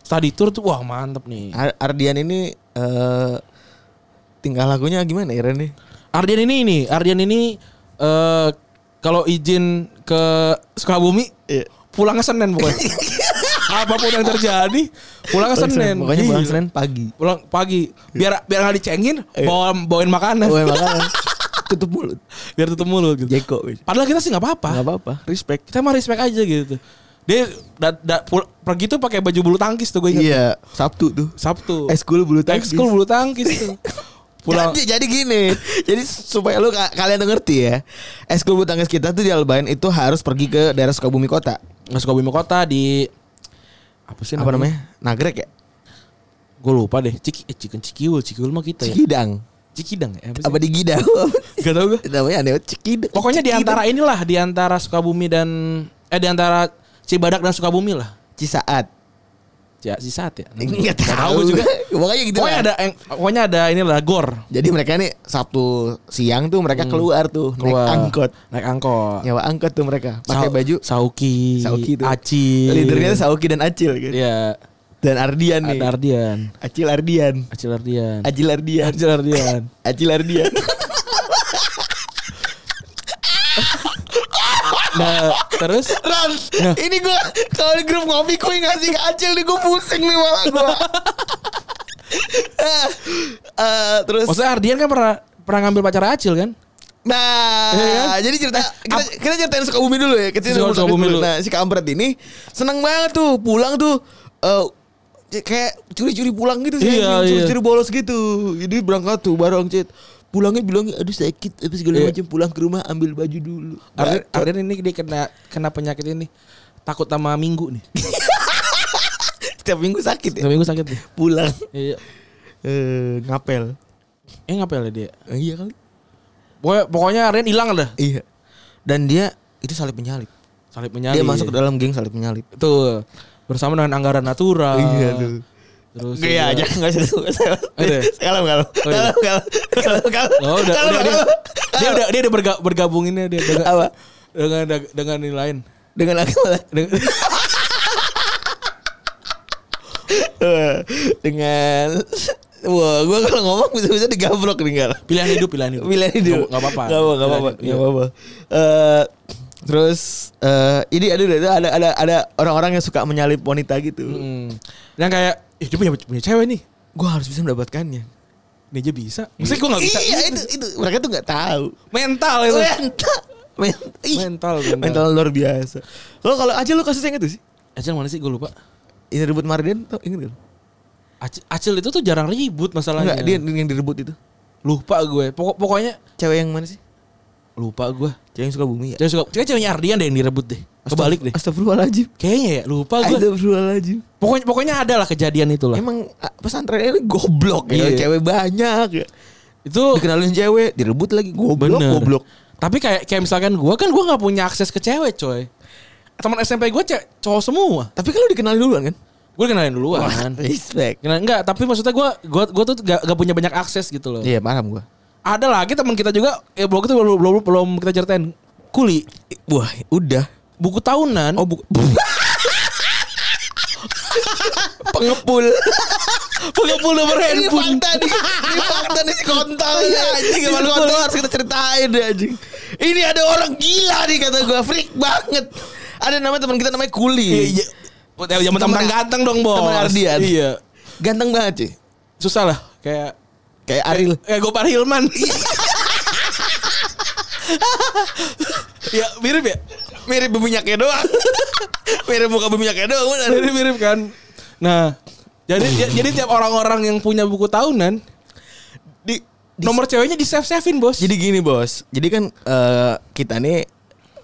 Speaker 2: study tour tuh wah mantep nih.
Speaker 3: Ar- Ardian ini eh tingkah lakunya gimana ya Ren nih?
Speaker 2: Ardian ini ini, Ardian ini eh kalau izin ke Sukabumi
Speaker 3: Iya. (laughs)
Speaker 2: pulang ke Senen pokoknya. apapun yang terjadi pulang ke Senin
Speaker 3: Pokoknya pulang Iya.
Speaker 2: Gila.
Speaker 3: Senin pagi.
Speaker 2: pulang pagi biar biar nggak dicengin
Speaker 3: Iya.
Speaker 2: bawa bawain makanan
Speaker 3: Gue makan (laughs) tutup mulut.
Speaker 2: biar tutup mulut gitu
Speaker 3: kan? Jeko. weh.
Speaker 2: padahal kita sih nggak apa-apa
Speaker 3: Nggak apa-apa. Respect.
Speaker 2: kita mah respect aja gitu dia da- da- pul- pergi tuh pakai baju bulu tangkis tuh gue ingat
Speaker 3: Iya. Sabtu tuh.
Speaker 2: Sabtu
Speaker 3: Ekskul bulu tangkis.
Speaker 2: ekskul bulu tangkis
Speaker 3: (laughs)
Speaker 2: tuh pulang
Speaker 3: Jadi, jadi gini, (laughs) jadi supaya lu ka- kalian tuh ngerti ya, ekskul bulu tangkis kita tuh di Albayan itu harus pergi ke daerah Sukabumi Kota.
Speaker 2: nggak suka bumi kota di apa sih
Speaker 3: Apa namanya? Nagrek ya?
Speaker 2: gue lupa deh ciki eh, Cikin- cikiul cikiul mah kita ya
Speaker 3: Cikidang.
Speaker 2: cikidang ya apa sih
Speaker 3: Apa di Gidang? (laughs)
Speaker 2: Gak tau gue
Speaker 3: namanya aneh banget, Cikidang.
Speaker 2: Pokoknya di
Speaker 3: Cikidang.
Speaker 2: antara inilah, di antara Sukabumi dan eh di antara Cibadak dan Sukabumi lah.
Speaker 3: Cisaat.
Speaker 2: Ya, si saat
Speaker 3: (laughs)
Speaker 2: ya. Nggak
Speaker 3: Enggak Hmm. tahu
Speaker 2: juga.
Speaker 3: juga. (laughs) Pokoknya gitu.
Speaker 2: Pokoknya
Speaker 3: lah.
Speaker 2: ada yang- pokoknya ada inilah gor
Speaker 3: Jadi mereka nih Sabtu siang tuh mereka keluar tuh
Speaker 2: Hmm. Keluar.
Speaker 3: naik angkot.
Speaker 2: naik angkot.
Speaker 3: Nyawa angkot tuh mereka pakai
Speaker 2: Sau-
Speaker 3: baju
Speaker 2: Sauki,
Speaker 3: Sauki tuh.
Speaker 2: Aci.
Speaker 3: Leadernya tuh Sauki dan Acil gitu.
Speaker 2: Iya,
Speaker 3: Dan Ardian nih.
Speaker 2: ada Ardian.
Speaker 3: Acil Ardian.
Speaker 2: Acil Ardian.
Speaker 3: Acil Ardian.
Speaker 2: Acil Ardian.
Speaker 3: Acil
Speaker 2: (laughs)
Speaker 3: Ardian.
Speaker 2: Nah, terus
Speaker 3: Ran,
Speaker 2: Nah.
Speaker 3: ini gua kalau di grup ngopi gue ngasih ke Acil nih gue pusing nih malah
Speaker 2: (laughs)
Speaker 3: gua. Eh, eh, terus
Speaker 2: maksudnya Ardian kan pernah pernah ngambil pacar Acil kan?
Speaker 3: Nah,
Speaker 2: Iya kan?
Speaker 3: jadi cerita kita, kita ceritain Sukabumi dulu ya. Kita
Speaker 2: Suka-
Speaker 3: ceritain
Speaker 2: Sukabumi dulu.
Speaker 3: Nah, si Kampret ini seneng banget tuh pulang tuh eh, kayak curi-curi pulang gitu sih,
Speaker 2: Iya, iya.
Speaker 3: curi-curi bolos gitu. Jadi berangkat tuh bareng Cit. Pulangnya bilang aduh sakit apa segala
Speaker 2: Iya.
Speaker 3: macam pulang ke rumah ambil baju dulu.
Speaker 2: Ardian,
Speaker 3: Bacot.
Speaker 2: Ardian ini dia kena kena penyakit ini. Takut sama minggu (laughs) nih.
Speaker 3: (laughs) Setiap minggu sakit ya.
Speaker 2: Setiap minggu sakit nih.
Speaker 3: Pulang
Speaker 2: Iya.
Speaker 3: eh, ngapel.
Speaker 2: Eh ngapel ya dia?
Speaker 3: Eh, iya kali.
Speaker 2: Pokoknya, pokoknya Ardian hilang dah.
Speaker 3: Iya. Dan dia itu salib penyalip.
Speaker 2: Salib menyalip.
Speaker 3: Dia masuk ke dalam geng salib penyalip.
Speaker 2: Tuh bersama dengan anggaran natura.
Speaker 3: Iya, tuh.
Speaker 2: Terus
Speaker 3: Gak ya,
Speaker 2: juga-
Speaker 3: jangan nggak usah usah.
Speaker 2: Udah.
Speaker 3: Kalem kalem.
Speaker 2: Oh, iya.
Speaker 3: Kalem kalem. Kalem kalem.
Speaker 2: Oh, udah,
Speaker 3: Kalem,
Speaker 2: udah, dia,
Speaker 3: kalem.
Speaker 2: dia udah dia udah berga- bergabunginnya dia dengan
Speaker 3: Apa?
Speaker 2: dengan dengan ini lain.
Speaker 3: Dengan agama lah.
Speaker 2: Dengan, (laughs)
Speaker 3: Eh, Dengan Wah, gua kalau ngomong bisa-bisa digabrok nih kalau.
Speaker 2: pilihan hidup, pilihan hidup.
Speaker 3: Pilihan hidup.
Speaker 2: Nggak- nggak apa-apa.
Speaker 3: Gak apa-apa, nggak apa-apa.
Speaker 2: Iya.
Speaker 3: nggak apa-apa. Eh, terus eh ini ada ada ada ada ada orang-orang yang suka menyalip wanita gitu.
Speaker 2: Hmm. Yang kayak ih dia punya, punya cewek nih.
Speaker 3: Gua harus bisa mendapatkannya.
Speaker 2: Ini aja bisa. Maksudnya gue gak bisa. gitu. Iya.
Speaker 3: Iya, itu itu mereka tuh nggak tahu.
Speaker 2: Mental itu.
Speaker 3: Mental. Mental. Ih,
Speaker 2: Mental, mental.
Speaker 3: Mental luar biasa. Lo kalau aja lo kasusnya inget tuh sih?
Speaker 2: Acil mana sih gue lupa.
Speaker 3: Ini rebut Mardian tau inget gak? lo?
Speaker 2: Acil, Acil itu tuh jarang ribut masalahnya.
Speaker 3: Enggak, dia yang direbut itu.
Speaker 2: lupa gue. Pokok, pokoknya
Speaker 3: Cewek yang mana sih?
Speaker 2: lupa gue.
Speaker 3: Cewek yang suka bumi ya?
Speaker 2: Cewek suka, cewek ceweknya Ardian deh yang direbut deh. Kebalik deh.
Speaker 3: Astagfirullahaladzim.
Speaker 2: Kayaknya ya, lupa gue.
Speaker 3: Astagfirullahaladzim.
Speaker 2: Pokoknya pokoknya ada lah kejadian itulah.
Speaker 3: Emang ah, pesantrennya ini goblok ya.
Speaker 2: Iya.
Speaker 3: Cewek banyak ya.
Speaker 2: Itu
Speaker 3: Dikenalin cewek, direbut lagi goblok
Speaker 2: Bener.
Speaker 3: goblok.
Speaker 2: Tapi kayak kayak misalkan gue kan gue nggak punya akses ke cewek coy. Teman SMP gue cewek cowok semua.
Speaker 3: Tapi kalau dikenalin duluan kan?
Speaker 2: Gue kenalin duluan.
Speaker 3: respect.
Speaker 2: Kenal, enggak, tapi maksudnya gue gua, gua tuh gak, gak punya banyak akses gitu loh.
Speaker 3: Iya, paham gua.
Speaker 2: Ada lagi teman kita juga, ya blog itu belum, belum, belum kita ceritain. Kuli,
Speaker 3: Wah, udah.
Speaker 2: buku tahunan,
Speaker 3: Oh, bu pengepul.
Speaker 2: (laughs) pengepul nomor
Speaker 3: (laughs) Ini
Speaker 2: handphone.
Speaker 3: fakta nih. Ini fakta nih si kontol
Speaker 2: Oh iya,
Speaker 3: ya anjing. Gimana kontol harus kita ceritain deh anjing. Ini ada orang gila nih kata gua freak banget. Ada nama teman kita namanya Kuli.
Speaker 2: Iya, iya. Ya, teman
Speaker 3: Temen-
Speaker 2: ganteng dong, bos.
Speaker 3: temen Ardian.
Speaker 2: Iya.
Speaker 3: Ganteng banget sih.
Speaker 2: Susah lah, kayak
Speaker 3: Kayak Aril.
Speaker 2: kayak Gopar Hilman.
Speaker 3: Iya.
Speaker 2: ya, mirip ya?
Speaker 3: Mirip minyaknya doang. (laughs) Mirip muka minyaknya doang. bener.
Speaker 2: mirip-mirip kan. Nah, jadi ja- jadi tiap orang-orang yang punya buku tahunan,
Speaker 3: Di- di-
Speaker 2: nomor ceweknya di save savein bos.
Speaker 3: Jadi gini bos. Jadi kan eh, kita nih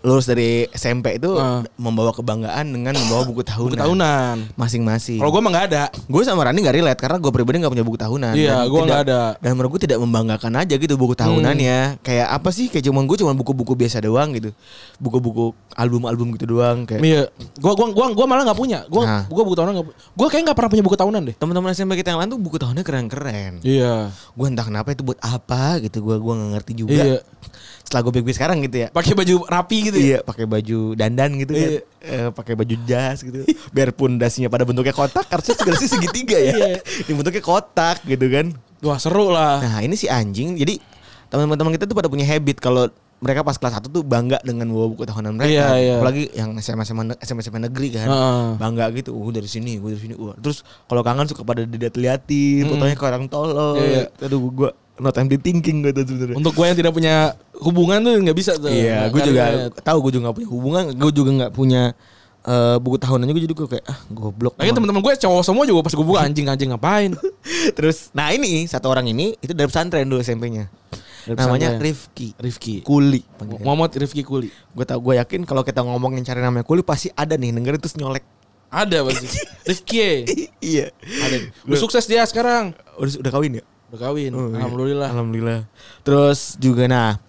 Speaker 3: lulus dari SMP itu
Speaker 2: Ah.
Speaker 3: membawa kebanggaan dengan membawa buku tahunan.
Speaker 2: buku tahunan.
Speaker 3: Masing-masing.
Speaker 2: Kalau gue mah nggak ada.
Speaker 3: Gue sama Rani gak relate karena gue pribadi gak punya buku tahunan.
Speaker 2: Iya, gua
Speaker 3: Dan tidak-
Speaker 2: nggak ada. Hmm.
Speaker 3: Dan menurut gue tidak membanggakan aja gitu buku tahunannya. Kayak apa sih? Kayak cuman gue cuman buku-buku biasa doang gitu. Buku-buku album-album gitu doang. Kayak
Speaker 2: Iya. Gua gua gua gua malah nggak punya. Gua
Speaker 3: Nah.
Speaker 2: gua buku tahunan nggak. pu- Gua kayak nggak pernah punya buku tahunan deh.
Speaker 3: teman-teman SMP kita yang lain tuh buku tahunannya keren-keren.
Speaker 2: Iya.
Speaker 3: Gue entah kenapa itu buat apa gitu. Gue gua nggak ngerti juga.
Speaker 2: Iya.
Speaker 3: Setelah gue pikir sekarang gitu ya.
Speaker 2: Pakai baju rapi gitu ya.
Speaker 3: Iya, pakai baju dandan gitu kan.
Speaker 2: Iya.
Speaker 3: Eh, pakai baju jas gitu. Biarpun dasinya pada bentuknya kotak, harusnya segala segitiga
Speaker 2: Iya.
Speaker 3: ya. Ini bentuknya kotak gitu kan.
Speaker 2: Wah seru lah.
Speaker 3: Nah ini si anjing Jadi teman-teman kita tuh pada punya habit Kalau mereka pas kelas 1 tuh bangga dengan bawa buku tahunan mereka.
Speaker 2: Iya, iya.
Speaker 3: Apalagi yang SMA SMA, ne- SMA, SMA negeri kan.
Speaker 2: Heeh.
Speaker 3: Bangga gitu, uh dari sini, gue dari sini. Uh. Terus kalau kangen suka pada dilihat-liatin, fotonya ke orang tolol.
Speaker 2: Iya,
Speaker 3: Aduh gue not empty thinking gue tuh sebenarnya.
Speaker 2: Untuk gue yang tidak punya hubungan tuh nggak bisa tuh.
Speaker 3: Iya, gue juga tahu gue juga gak punya hubungan, gue juga gak punya eh, buku tahunannya gue jadi gue kayak ah goblok.
Speaker 2: Lagi
Speaker 3: emang.
Speaker 2: teman-teman gue cowok semua juga pas gue buka anjing anjing ngapain?
Speaker 3: (laughs) Terus nah ini satu orang ini itu dari pesantren dulu SMP-nya.
Speaker 2: Dari
Speaker 3: Namanya
Speaker 2: pesantren.
Speaker 3: Rifki.
Speaker 2: Rifki.
Speaker 3: Kuli.
Speaker 2: Muhammad Rifki Kuli.
Speaker 3: Gue tau gue yakin kalau kita ngomongin cari namanya Kuli pasti ada nih dengerin terus nyolek. (laughs)
Speaker 2: Ada pasti. Rifki.
Speaker 3: iya.
Speaker 2: Ada. Udah sukses dia sekarang.
Speaker 3: Udah, udah kawin ya?
Speaker 2: Udah kawin.
Speaker 3: Oh, iya.
Speaker 2: Alhamdulillah.
Speaker 3: Alhamdulillah. Terus juga nah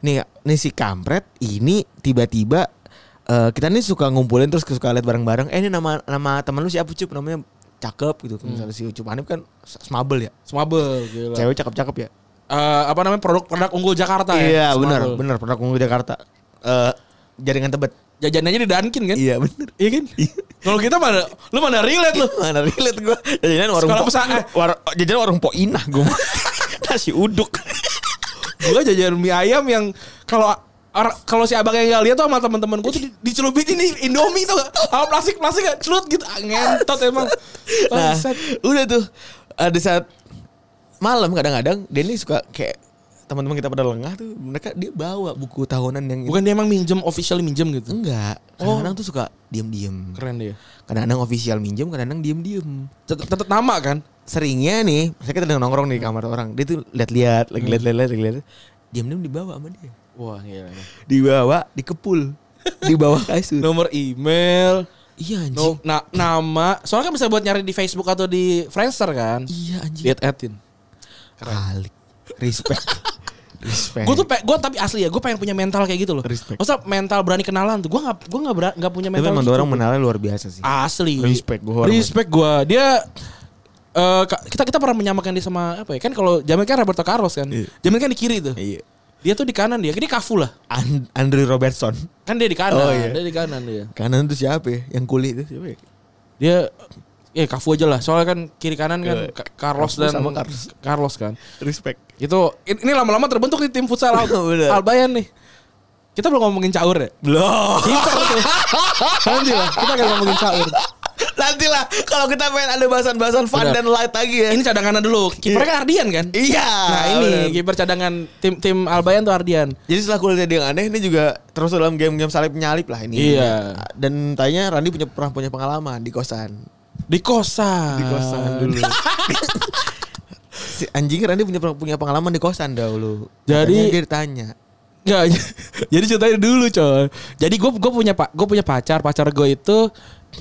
Speaker 3: nih nih si kampret ini tiba-tiba eh, kita nih suka ngumpulin terus suka lihat bareng-bareng. Eh ini nama nama teman lu siapa Cup namanya cakep gitu. Misalnya si Cup Hanif kan smabel ya.
Speaker 2: Smabel gila.
Speaker 3: Cewek cakep-cakep ya.
Speaker 2: Eh, apa namanya produk-produk unggul Jakarta ya?
Speaker 3: Iya benar
Speaker 2: Smabel.
Speaker 3: benar pernah ke Jakarta. Eh jaringan tebet.
Speaker 2: Jajanannya di Dunkin kan?
Speaker 3: Iya benar.
Speaker 2: Iya kan? Kalau kita mana lu mana relate lu?
Speaker 3: Mana relate gue Jajanan warung
Speaker 2: Sekolah
Speaker 3: po, eh,
Speaker 2: pesan-
Speaker 3: war, Jajanan warung poinah gue (laughs) Nasi uduk
Speaker 2: Gua jajan mie ayam yang kalau ar- kalau si abang yang gak lihat tuh sama teman-teman gue tuh di- dicelupitin ini Indomie tuh gak? Sama plastik-plastik gak celut gitu. Ah, Ngentot emang.
Speaker 3: Nah,
Speaker 2: Bangsat.
Speaker 3: udah tuh ada saat malam kadang-kadang Denny suka kayak teman-teman kita pada lengah tuh mereka dia bawa buku tahunan yang
Speaker 2: Bukan dia emang minjem officially minjem gitu.
Speaker 3: enggak kadang-kadang tuh suka diem-diem
Speaker 2: Keren dia.
Speaker 3: kadang-kadang official minjem kadang-kadang diem-diem
Speaker 2: Tet- Tetap nama kan?
Speaker 3: seringnya nih saya kita udah nongkrong nih di kamar orang dia tuh lihat-lihat
Speaker 2: Hmm.
Speaker 3: lagi lihat-lihat lagi lihat diam-diam dibawa sama dia
Speaker 2: Wah, iya, gila.
Speaker 3: dibawa
Speaker 2: (laughs)
Speaker 3: dikepul di bawah kasur
Speaker 2: Nomor email,
Speaker 3: iya anjing
Speaker 2: no, na- nama. Soalnya kan bisa buat nyari di Facebook atau di Friendster kan?
Speaker 3: iya anjing
Speaker 2: Lihat atin.
Speaker 3: kali
Speaker 2: (laughs)
Speaker 3: respect respect
Speaker 2: Gue tuh pe- gue tapi asli ya, gue pengen punya mental kayak gitu loh.
Speaker 3: Respect.
Speaker 2: Masa mental berani kenalan tuh? Gue nggak gue nggak bera- nggak punya
Speaker 3: tapi
Speaker 2: mental.
Speaker 3: emang
Speaker 2: gitu.
Speaker 3: orang menalnya luar biasa sih
Speaker 2: Asli.
Speaker 3: Respect gua hormat.
Speaker 2: Respect gue. Dia eh, ka- kita kita pernah menyamakan dia sama apa ya? Kan kalau Jamil kan Roberto Carlos kan.
Speaker 3: Iya.
Speaker 2: Jamil kan di kiri tuh.
Speaker 3: Iya.
Speaker 2: Dia tuh di kanan dia. Dia kafu lah.
Speaker 3: And- Andrew Robertson.
Speaker 2: Kan dia di kanan.
Speaker 3: Oh, iya.
Speaker 2: Dia di kanan dia.
Speaker 3: Kanan itu siapa ya? Yang kulit itu siapa ya?
Speaker 2: Dia ya kafu aja lah. Soalnya kan kiri kanan kan
Speaker 3: Iya.
Speaker 2: Ka- Carlos
Speaker 3: Kafu
Speaker 2: dan
Speaker 3: sama Carlos.
Speaker 2: Carlos kan.
Speaker 3: Respect.
Speaker 2: Itu in- Gitu. ini lama-lama terbentuk di tim futsal Al-
Speaker 3: (laughs) Bener.
Speaker 2: Albayan nih. Kita belum ngomongin caur ya.
Speaker 3: Belum. (laughs)
Speaker 2: Kita tuh. Nanti lah, kita akan ngomongin caur.
Speaker 3: Nantilah kalau kita pengen ada bahasan-bahasan fun
Speaker 2: Benar.
Speaker 3: dan light lagi ya.
Speaker 2: Ini cadangannya dulu. Kipernya kan Ardian kan?
Speaker 3: iya.
Speaker 2: Nah
Speaker 3: benar.
Speaker 2: ini kiper cadangan tim tim Albayan tuh Ardian.
Speaker 3: Jadi setelah kuliah dia yang aneh ini juga terus dalam game-game salib nyalip lah ini.
Speaker 2: Iya.
Speaker 3: Dan tanya Randi punya pernah punya pengalaman di kosan.
Speaker 2: Di kosan.
Speaker 3: (laughs) si anjing Randi punya punya pengalaman di kosan dahulu.
Speaker 2: Jadi-
Speaker 3: Makanya dia ditanya.
Speaker 2: Nggak, (laughs) jadi ceritanya dulu coy. Jadi gue gue punya pak gue punya pacar pacar gue itu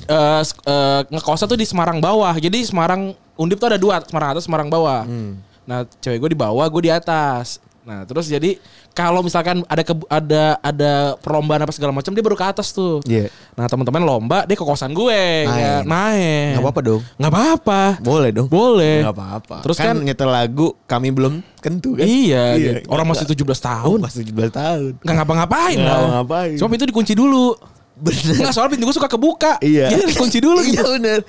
Speaker 2: eh s- eh, ngekosnya tuh di Semarang bawah. Jadi Semarang Undip tuh ada dua Semarang atas Semarang bawah.
Speaker 3: Hmm.
Speaker 2: Nah cewek gue di bawah gue di atas. Nah terus jadi kalau misalkan ada ke, ada ada perlombaan apa segala macam dia baru ke atas tuh.
Speaker 3: Iya.
Speaker 2: Nah teman-teman lomba dia ke kosan gue
Speaker 3: Main.
Speaker 2: ya, main.
Speaker 3: Nggak apa-apa dong.
Speaker 2: Nggak apa-apa.
Speaker 3: Boleh dong.
Speaker 2: Boleh.
Speaker 3: Nggak apa-apa.
Speaker 2: Eh, Terus
Speaker 3: kan,
Speaker 2: kan-
Speaker 3: nyetel lagu kami belum kentu kan.
Speaker 2: Iya,
Speaker 3: Iya,
Speaker 2: gitu. orang masih 17 tahun.
Speaker 3: Pas 17 tahun.
Speaker 2: nggak ngapa-ngapain
Speaker 3: Nggak
Speaker 2: lah.
Speaker 3: ngapa-ngapain.
Speaker 2: Cuma pintu dikunci dulu.
Speaker 3: Bener.
Speaker 2: Enggak soal pintu gue suka kebuka.
Speaker 3: Iya.
Speaker 2: Jadi dikunci dulu
Speaker 3: Iya
Speaker 2: gitu.
Speaker 3: bener.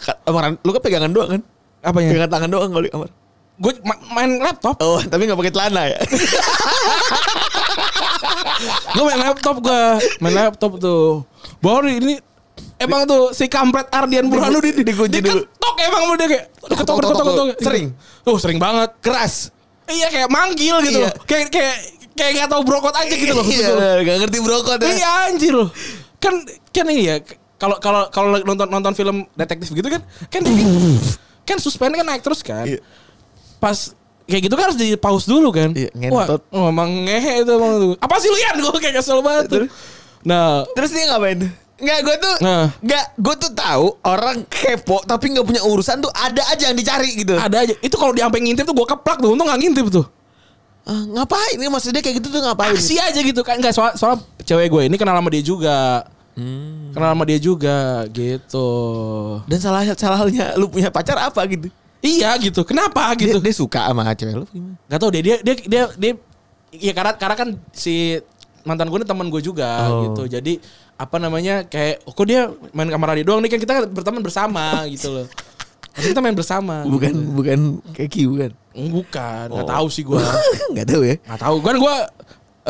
Speaker 3: Ka- Kamar, lu kan pegangan doang kan?
Speaker 2: Apanya?
Speaker 3: Pegangan tangan doang kalau di
Speaker 2: Iya.
Speaker 3: kamar.
Speaker 2: Gue main laptop.
Speaker 3: Oh, tapi nggak pakai celana
Speaker 2: (laughs)
Speaker 3: ya?
Speaker 2: Iya, Gue main laptop gue. Main laptop tuh. Baru ini emang tuh si kampret Ardian Burhanu di, di,
Speaker 3: dikunci dulu.
Speaker 2: Ketok emang sama dia kayak ketok ketok ketok ketok. ketok.
Speaker 3: Sering?
Speaker 2: Tuh sering banget. Keras. Iya kayak manggil gitu.
Speaker 3: Iya.
Speaker 2: loh. Kayak kayak kayak nggak tahu brokot aja gitu loh. Gitu loh.
Speaker 3: Iya, nggak ngerti brokot ya.
Speaker 2: Iya anjir loh. Kan kan ini ya kalau kalau kalau nonton nonton film detektif gitu kan kan kan suspend kan naik terus kan.
Speaker 3: Iya.
Speaker 2: Pas kayak gitu kan harus di pause dulu kan.
Speaker 3: Iya, ngentot.
Speaker 2: Wah, emang ngehe itu emang tuh. Apa sih lu Yan? Gue kayak kesel banget tuh.
Speaker 3: Iya, Terus?
Speaker 2: Nah,
Speaker 3: Terus dia ngapain? Nggak, gue tuh
Speaker 2: Nah.
Speaker 3: nggak, gue tuh tahu orang kepo tapi nggak punya urusan tuh ada aja yang dicari gitu.
Speaker 2: ada aja. Itu kalau diampe ngintip tuh gue keplak tuh. Untung gak ngintip tuh.
Speaker 3: Ah, ngapain? Ini maksudnya kayak gitu tuh ngapain?
Speaker 2: Aksi aja gitu kan. Enggak soal soal cewek gue ini kenal sama dia juga.
Speaker 3: Hmm.
Speaker 2: Kenal sama dia juga gitu.
Speaker 3: Dan salah salahnya lu punya pacar apa gitu?
Speaker 2: Iya gitu. Kenapa
Speaker 3: Dia,
Speaker 2: gitu?
Speaker 3: dia suka sama cewek lu gimana?
Speaker 2: Gak tau deh dia dia dia dia ya karena karena kan si mantan gue ini teman gue juga
Speaker 3: Oh.
Speaker 2: gitu jadi apa namanya kayak oh, kok dia main kamar dia doang nih kan kita berteman bersama gitu loh Maksudnya kita main bersama Mm,
Speaker 3: Bukan Oh. bukan keki bukan.
Speaker 2: bukan nggak tahu sih gue
Speaker 3: (laughs) Nggak tahu ya.
Speaker 2: nggak tahu kan gue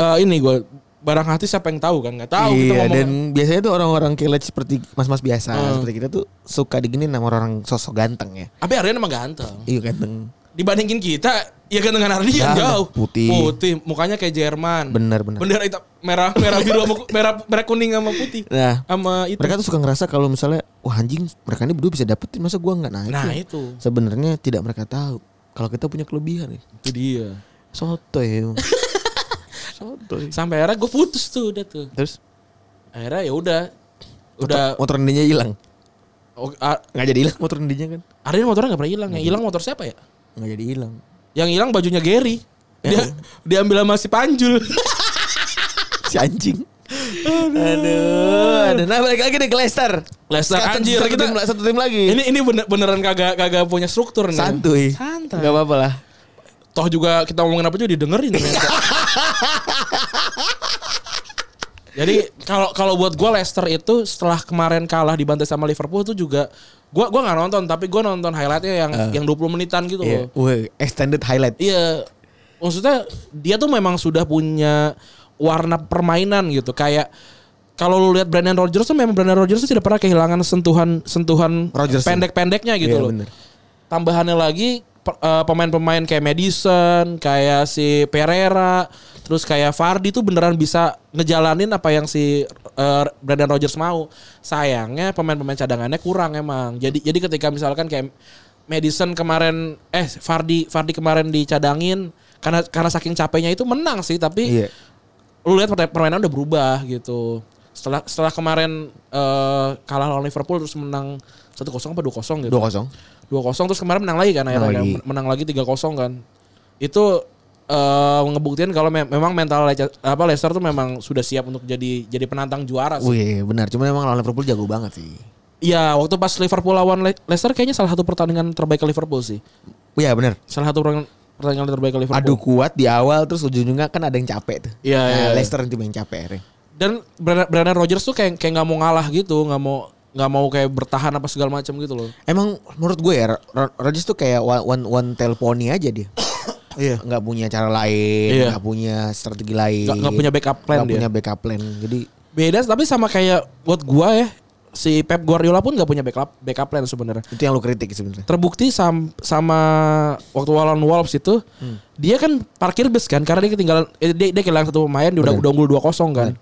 Speaker 2: eh, ini gue barang hati siapa yang tahu kan nggak tahu kita
Speaker 3: iya,
Speaker 2: ngomong Hmm.
Speaker 3: dan biasanya tuh orang-orang kilat seperti mas-mas biasa seperti kita tuh suka diginin sama orang sosok ganteng ya.
Speaker 2: tapi Ardian emang ganteng
Speaker 3: Iya ganteng.
Speaker 2: dibandingin kita ya gantengan Ardian
Speaker 3: Ganteng,
Speaker 2: jauh
Speaker 3: Nah, putih.
Speaker 2: putih mukanya kayak Jerman
Speaker 3: Bener bener.
Speaker 2: bendera hitam merah merah biru sama merah merah kuning sama putih
Speaker 3: Nah,
Speaker 2: sama itu
Speaker 3: mereka tuh suka ngerasa kalau misalnya wah anjing mereka ini berdua bisa dapetin masa gua nggak naik.
Speaker 2: nah
Speaker 3: ya?
Speaker 2: itu
Speaker 3: Sebenarnya tidak mereka tahu kalau kita punya kelebihan ya.
Speaker 2: itu dia (laughs)
Speaker 3: Sotoy. emang. Sotoy.
Speaker 2: sampai akhirnya gue putus tuh udah tuh
Speaker 3: Terus
Speaker 2: akhirnya ya udah udah
Speaker 3: udah motor rendinya hilang.
Speaker 2: oh, Ar-
Speaker 3: Nggak jadi hilang motor rendinya kan.
Speaker 2: Ardian motornya nggak pernah hilang yang hilang motor siapa ya
Speaker 3: Nggak jadi hilang.
Speaker 2: yang hilang bajunya Gary dia diambil sama si Panjul
Speaker 3: Si anjing. Aduh, aduh. Nah, balik lagi deh ke Leicester.
Speaker 2: Leicester
Speaker 3: Sekarang
Speaker 2: anjir
Speaker 3: satu
Speaker 2: kita
Speaker 3: tim, satu tim lagi.
Speaker 2: ini ini bener- beneran kagak kagak punya struktur nih
Speaker 3: santuy.
Speaker 2: Santai.
Speaker 3: Gak apa-apa lah.
Speaker 2: toh juga kita ngomongin apa juga didengerin ternyata. Jadi kalau kalau buat gue Leicester itu setelah kemarin kalah dibantai sama Liverpool itu juga gue gua nggak nonton tapi gue nonton highlightnya yang yang 20 menitan gitu loh.
Speaker 3: Iya. Wih, extended highlight.
Speaker 2: Iya. Maksudnya dia tuh memang sudah punya warna permainan gitu. Kayak kalau lu lihat Brandon Rodgers tuh memang Brandon Rodgers tuh tidak pernah kehilangan sentuhan sentuhan
Speaker 3: Rodgers.
Speaker 2: pendek-pendeknya gitu
Speaker 3: Iya,
Speaker 2: loh.
Speaker 3: bener.
Speaker 2: Tambahannya lagi per- eh, pemain-pemain kayak Madison, kayak si Pereira, terus kayak Vardy tuh beneran bisa ngejalanin apa yang si eh, Brandon Rodgers mau. Sayangnya pemain-pemain cadangannya kurang emang. Jadi jadi ketika misalkan kayak Madison kemarin eh Vardy Vardy kemarin dicadangin karena karena saking capeknya itu menang sih tapi
Speaker 3: Iya.
Speaker 2: lu lihat perta- permainan udah berubah gitu. Setelah setelah kemarin eh, kalah lawan Liverpool terus menang 1-0 apa 2-0 gitu.
Speaker 3: 2-0.
Speaker 2: 2-0 terus kemarin menang lagi kan akhirnya kan?
Speaker 3: Menang lagi.
Speaker 2: menang lagi 3-0 kan. Itu eh ngebuktiin kalau me- memang mental Leicester, apa Leicester tuh memang sudah siap untuk jadi jadi penantang juara sih.
Speaker 3: Wih, benar. Cuma emang lawan Liverpool jago banget sih.
Speaker 2: Iya, waktu pas Liverpool lawan Le- Leicester kayaknya salah satu pertandingan terbaik ke Liverpool sih.
Speaker 3: Iya, benar.
Speaker 2: Salah satu pertandingan- pertandingan terbaik ke Liverpool.
Speaker 3: Adu kuat di awal terus ujung-ujungnya kan ada yang capek tuh. Nah,
Speaker 2: Iya, iya, iya.
Speaker 3: Leicester tim yang capek akhirnya.
Speaker 2: dan Brandon Brandon Rodgers tuh kayak kayak nggak mau ngalah gitu, nggak mau nggak mau kayak bertahan apa segala macam gitu loh.
Speaker 3: Emang menurut gue ya Ro- Ro- Rodgers tuh kayak one one, one tail pony aja
Speaker 2: (coughs)
Speaker 3: dia.
Speaker 2: Iya.
Speaker 3: Nggak punya cara lain,
Speaker 2: Iya.
Speaker 3: nggak punya strategi lain.
Speaker 2: Nggak- nggak punya backup plan
Speaker 3: Nggak
Speaker 2: dia.
Speaker 3: punya backup plan. Jadi
Speaker 2: Beda tapi sama kayak buat gua ya si Pep Guardiola pun nggak punya backup backup plan sebenarnya.
Speaker 3: itu yang lu kritik sebenarnya.
Speaker 2: Terbukti sam- sama waktu lawan Wolves itu
Speaker 3: Hmm.
Speaker 2: dia kan parkir bus kan karena dia ketinggalan eh, dia, dia kehilangan satu pemain dia udah udah unggul 2-0 kan.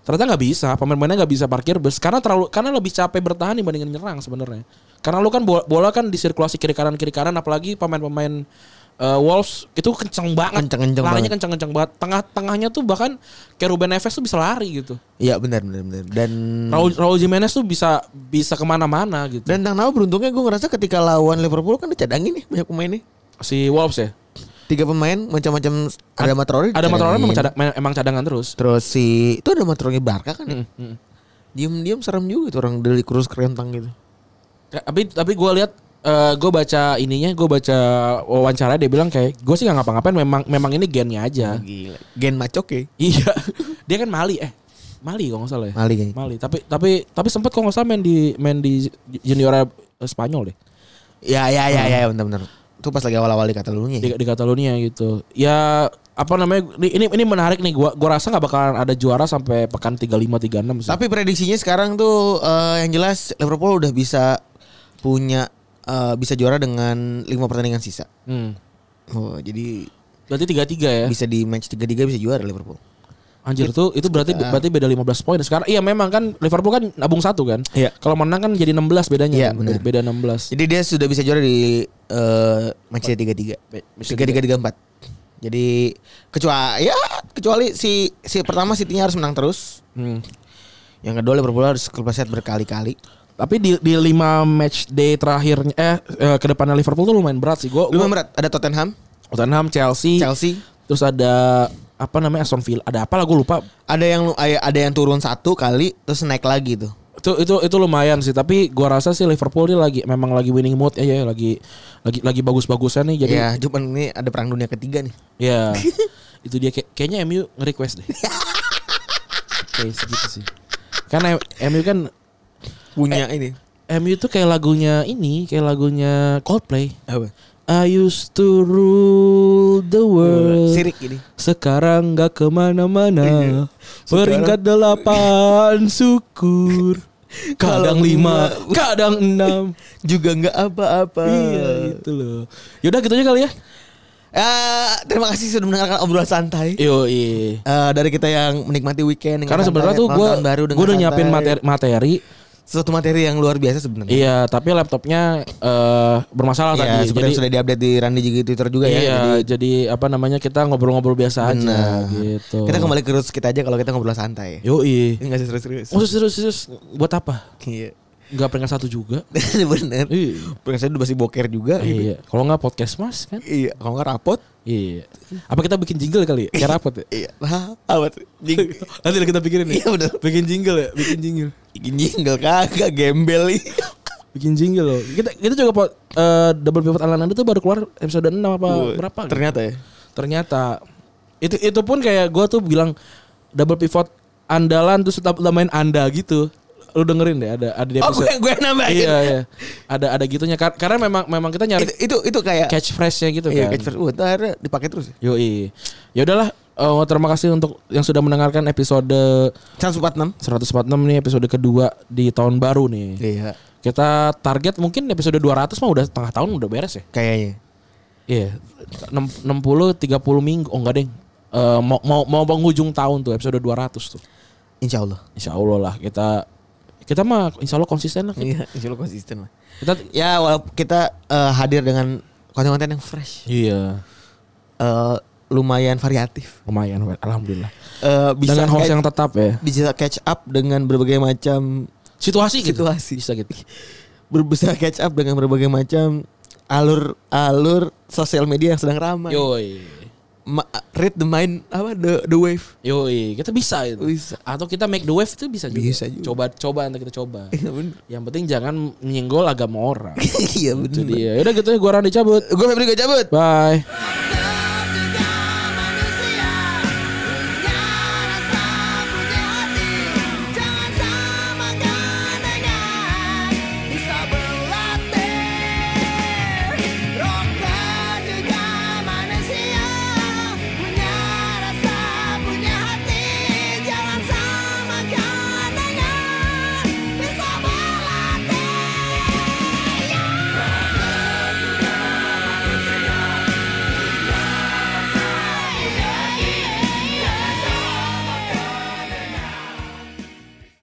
Speaker 2: Ternyata nggak bisa, pemain-pemainnya nggak bisa parkir bus karena terlalu karena lebih capek bertahan dibandingin nyerang sebenarnya. Karena lu kan bola, bola kan disirkulasi kiri kanan kiri kanan apalagi pemain-pemain eh, Wolves itu kenceng banget.
Speaker 3: Kenceng-kenceng
Speaker 2: Larinya
Speaker 3: banget.
Speaker 2: kenceng-kenceng banget. Tengah-tengahnya tuh bahkan kayak Ruben Neves tuh bisa lari gitu.
Speaker 3: Iya benar benar benar. Dan
Speaker 2: Raul, Raul Jimenez tuh bisa bisa kemana-mana gitu.
Speaker 3: Hmm. dan tentang Nao beruntungnya gue ngerasa ketika lawan Liverpool kan dicadangin nih banyak pemainnya.
Speaker 2: si Wolves ya.
Speaker 3: Tiga pemain macam-macam ada Matrori.
Speaker 2: Ada Matarone memang, cada- me- emang cadangan terus.
Speaker 3: Terus si itu ada Matrori Barca kan. ya?
Speaker 2: Mm, mm.
Speaker 3: Diem-diem serem juga tuh orang dari Cruz kerentang gitu.
Speaker 2: Ka- Tapi tapi gue lihat eh gue baca ininya, gue baca wawancara dia bilang kayak gue sih nggak ngapa-ngapain. Memang memang ini gennya aja.
Speaker 3: Gila. Gen Macok ya.
Speaker 2: Iya, (laughs) dia kan Mali eh Mali kalau nggak salah ya.
Speaker 3: Mali kayaknya.
Speaker 2: Mali. Tapi tapi tapi sempat kalau nggak salah main di main di junior eh, Spanyol deh
Speaker 3: Ya ya ya ya
Speaker 2: Hmm.
Speaker 3: benar benar. Itu pas lagi awal-awal di Catalunya.
Speaker 2: di, di Catalonia gitu. Ya apa namanya ini ini menarik nih gua gua rasa nggak bakalan ada juara sampai pekan 35 36 sih.
Speaker 3: Tapi prediksinya sekarang tuh eh, yang jelas Liverpool udah bisa punya eh, bisa juara dengan lima pertandingan sisa.
Speaker 2: Hmm.
Speaker 3: Oh, jadi
Speaker 2: Berarti 33 ya.
Speaker 3: bisa di match 3-3 bisa juara Liverpool.
Speaker 2: Anjir tuh itu berarti
Speaker 3: Iya.
Speaker 2: berarti beda 15 poin sekarang. Iya memang kan Liverpool kan nabung satu kan.
Speaker 3: Iya.
Speaker 2: Kalau menang kan jadi 16 bedanya.
Speaker 3: Iya,
Speaker 2: kan?
Speaker 3: benar.
Speaker 2: Beda 16.
Speaker 3: Jadi dia sudah bisa juara di eh, match 3-3.
Speaker 2: Be- match
Speaker 3: 3-3 3-4. Jadi kecuali ya kecuali si si pertama City-nya harus menang terus.
Speaker 2: Hmm.
Speaker 3: Yang kedua Liverpool harus kelepasan berkali-kali.
Speaker 2: Tapi di di 5 match day terakhirnya eh, eh ke depannya Liverpool tuh lumayan berat sih. Gua
Speaker 3: Lu
Speaker 2: gua-
Speaker 3: berat ada Tottenham,
Speaker 2: Tottenham, Chelsea,
Speaker 3: Chelsea,
Speaker 2: terus ada apa namanya Aston Villa. Ada apa lah gue lupa.
Speaker 3: ada yang lu- ada yang turun satu kali terus naik lagi tuh.
Speaker 2: Itu itu itu lumayan sih, tapi gua rasa sih Liverpool dia lagi memang lagi winning mood ya ya lagi lagi lagi bagus-bagusnya nih jadi
Speaker 3: Iya, cuman ini ada perang dunia ketiga nih. (laughs)
Speaker 2: Ya. itu dia Kay- kayaknya MU nge-request deh. Kayak segitu sih. Karena MU kan
Speaker 3: Eh, Punya ini.
Speaker 2: MU tuh kayak lagunya ini, kayak lagunya Coldplay.
Speaker 3: Apa?
Speaker 2: I used to rule the world.
Speaker 3: Sirik ini.
Speaker 2: Sekarang nggak
Speaker 3: Iya.
Speaker 2: kemana-mana. Peringkat
Speaker 3: (laughs)
Speaker 2: delapan, syukur. Kadang
Speaker 3: Kalau
Speaker 2: lima, kadang
Speaker 3: (laughs)
Speaker 2: enam.
Speaker 3: Juga nggak apa-apa.
Speaker 2: Iya itu loh. Yaudah gitu aja kali ya.
Speaker 3: Eh, terima kasih sudah mendengarkan obrolan santai.
Speaker 2: Yo
Speaker 3: Eh, dari kita yang menikmati weekend dengan
Speaker 2: Karena
Speaker 3: santai,
Speaker 2: sebenarnya tuh
Speaker 3: malam
Speaker 2: gue
Speaker 3: tahun baru dengan
Speaker 2: gue udah
Speaker 3: santai.
Speaker 2: nyiapin materi, materi.
Speaker 3: suatu materi yang luar biasa sebenarnya.
Speaker 2: Iya, tapi laptopnya eh, bermasalah
Speaker 3: Iya,
Speaker 2: tadi.
Speaker 3: seperti
Speaker 2: Jadi,
Speaker 3: yang sudah diupdate di Randy juga Twitter juga
Speaker 2: iya,
Speaker 3: ya.
Speaker 2: jadi, apa namanya kita ngobrol-ngobrol biasa
Speaker 3: Benar.
Speaker 2: aja gitu.
Speaker 3: Kita kembali ke roots kita aja kalau kita ngobrol santai.
Speaker 2: Yo
Speaker 3: Ini nggak serius-serius.
Speaker 2: Iya. Maksud serius serius buat apa?
Speaker 3: Iya. (laughs)
Speaker 2: Gak peringkat satu juga.
Speaker 3: Bener.
Speaker 2: Iya.
Speaker 3: Pengen saya udah masih boker juga.
Speaker 2: Iya. Kalau nggak podcast mas kan?
Speaker 3: Iya, kalau nggak rapot.
Speaker 2: Iya. Apa kita bikin jingle kali? ya? Kayak rapot ya?
Speaker 3: Iya. (laughs) Nah, apa tuh? Jing,
Speaker 2: (laughs) Nanti lah kita pikirin nih.
Speaker 3: Iya, bener.
Speaker 2: Bikin jingle ya, bikin jingle.
Speaker 3: jingle kagak gembel ih.
Speaker 2: Bikin jingle loh. Kita kita juga po- eh, double pivot ala Nando tuh baru keluar episode 6 apa berapa? gitu.
Speaker 3: Ternyata ya.
Speaker 2: Ternyata itu itu pun kayak gue tuh bilang double pivot andalan terus tetap main anda gitu. Lu dengerin deh ada ada di
Speaker 3: Oh, gue
Speaker 2: episode.
Speaker 3: gue yang nambahin.
Speaker 2: iya iya. Ada ada gitunya Kar- karena memang memang kita nyari
Speaker 3: Itu itu, itu kayak
Speaker 2: catchphrase-nya gitu
Speaker 3: Iya,
Speaker 2: kan.
Speaker 3: catch phrase. Wah, itu akhirnya dipakai terus. ya.
Speaker 2: Yoi. Ya udahlah, eh, terima kasih untuk yang sudah mendengarkan episode
Speaker 3: Chance 46.
Speaker 2: 146 nih episode kedua di tahun baru nih.
Speaker 3: Iya,
Speaker 2: Kita target mungkin episode 200 mah udah setengah tahun udah beres ya.
Speaker 3: kayaknya.
Speaker 2: Iya. Nem- 60 30 minggu. Oh enggak, Deng. Eh, mau mau mau penghujung tahun tuh episode 200 tuh.
Speaker 3: Insya Allah.
Speaker 2: Insya Allah lah kita kita mah insya Allah konsisten lah. Kita,
Speaker 3: (laughs) Iya, insya Allah konsisten lah.
Speaker 2: kita
Speaker 3: Ya, walaupun kita eh, hadir dengan konten-konten yang fresh.
Speaker 2: Iya,
Speaker 3: Eh, lumayan variatif.
Speaker 2: lumayan. Wen. Alhamdulillah.
Speaker 3: Eh, bisa
Speaker 2: Dengan host
Speaker 3: catch-
Speaker 2: yang tetap ya.
Speaker 3: bisa catch up dengan berbagai macam
Speaker 2: Situasi gitu.
Speaker 3: situasi.
Speaker 2: Bisa gitu.
Speaker 3: Ber- Bisa catch up dengan berbagai macam alur-alur sosial media yang sedang ramai.
Speaker 2: Yoi.
Speaker 3: Ma- read the mind apa the the wave.
Speaker 2: Yoi, kita bisa itu.
Speaker 3: Bisa.
Speaker 2: Atau kita make the wave itu bisa juga.
Speaker 3: Bisa juga.
Speaker 2: Coba coba nanti kita coba.
Speaker 3: Iya bener.
Speaker 2: Yang penting jangan menyenggol agama orang.
Speaker 3: (laughs) Iya bener. Eh.
Speaker 2: Itu dia. Yaudah gitu ya, gua orang dicabut.
Speaker 3: Gue Febri gue cabut.
Speaker 2: Bye.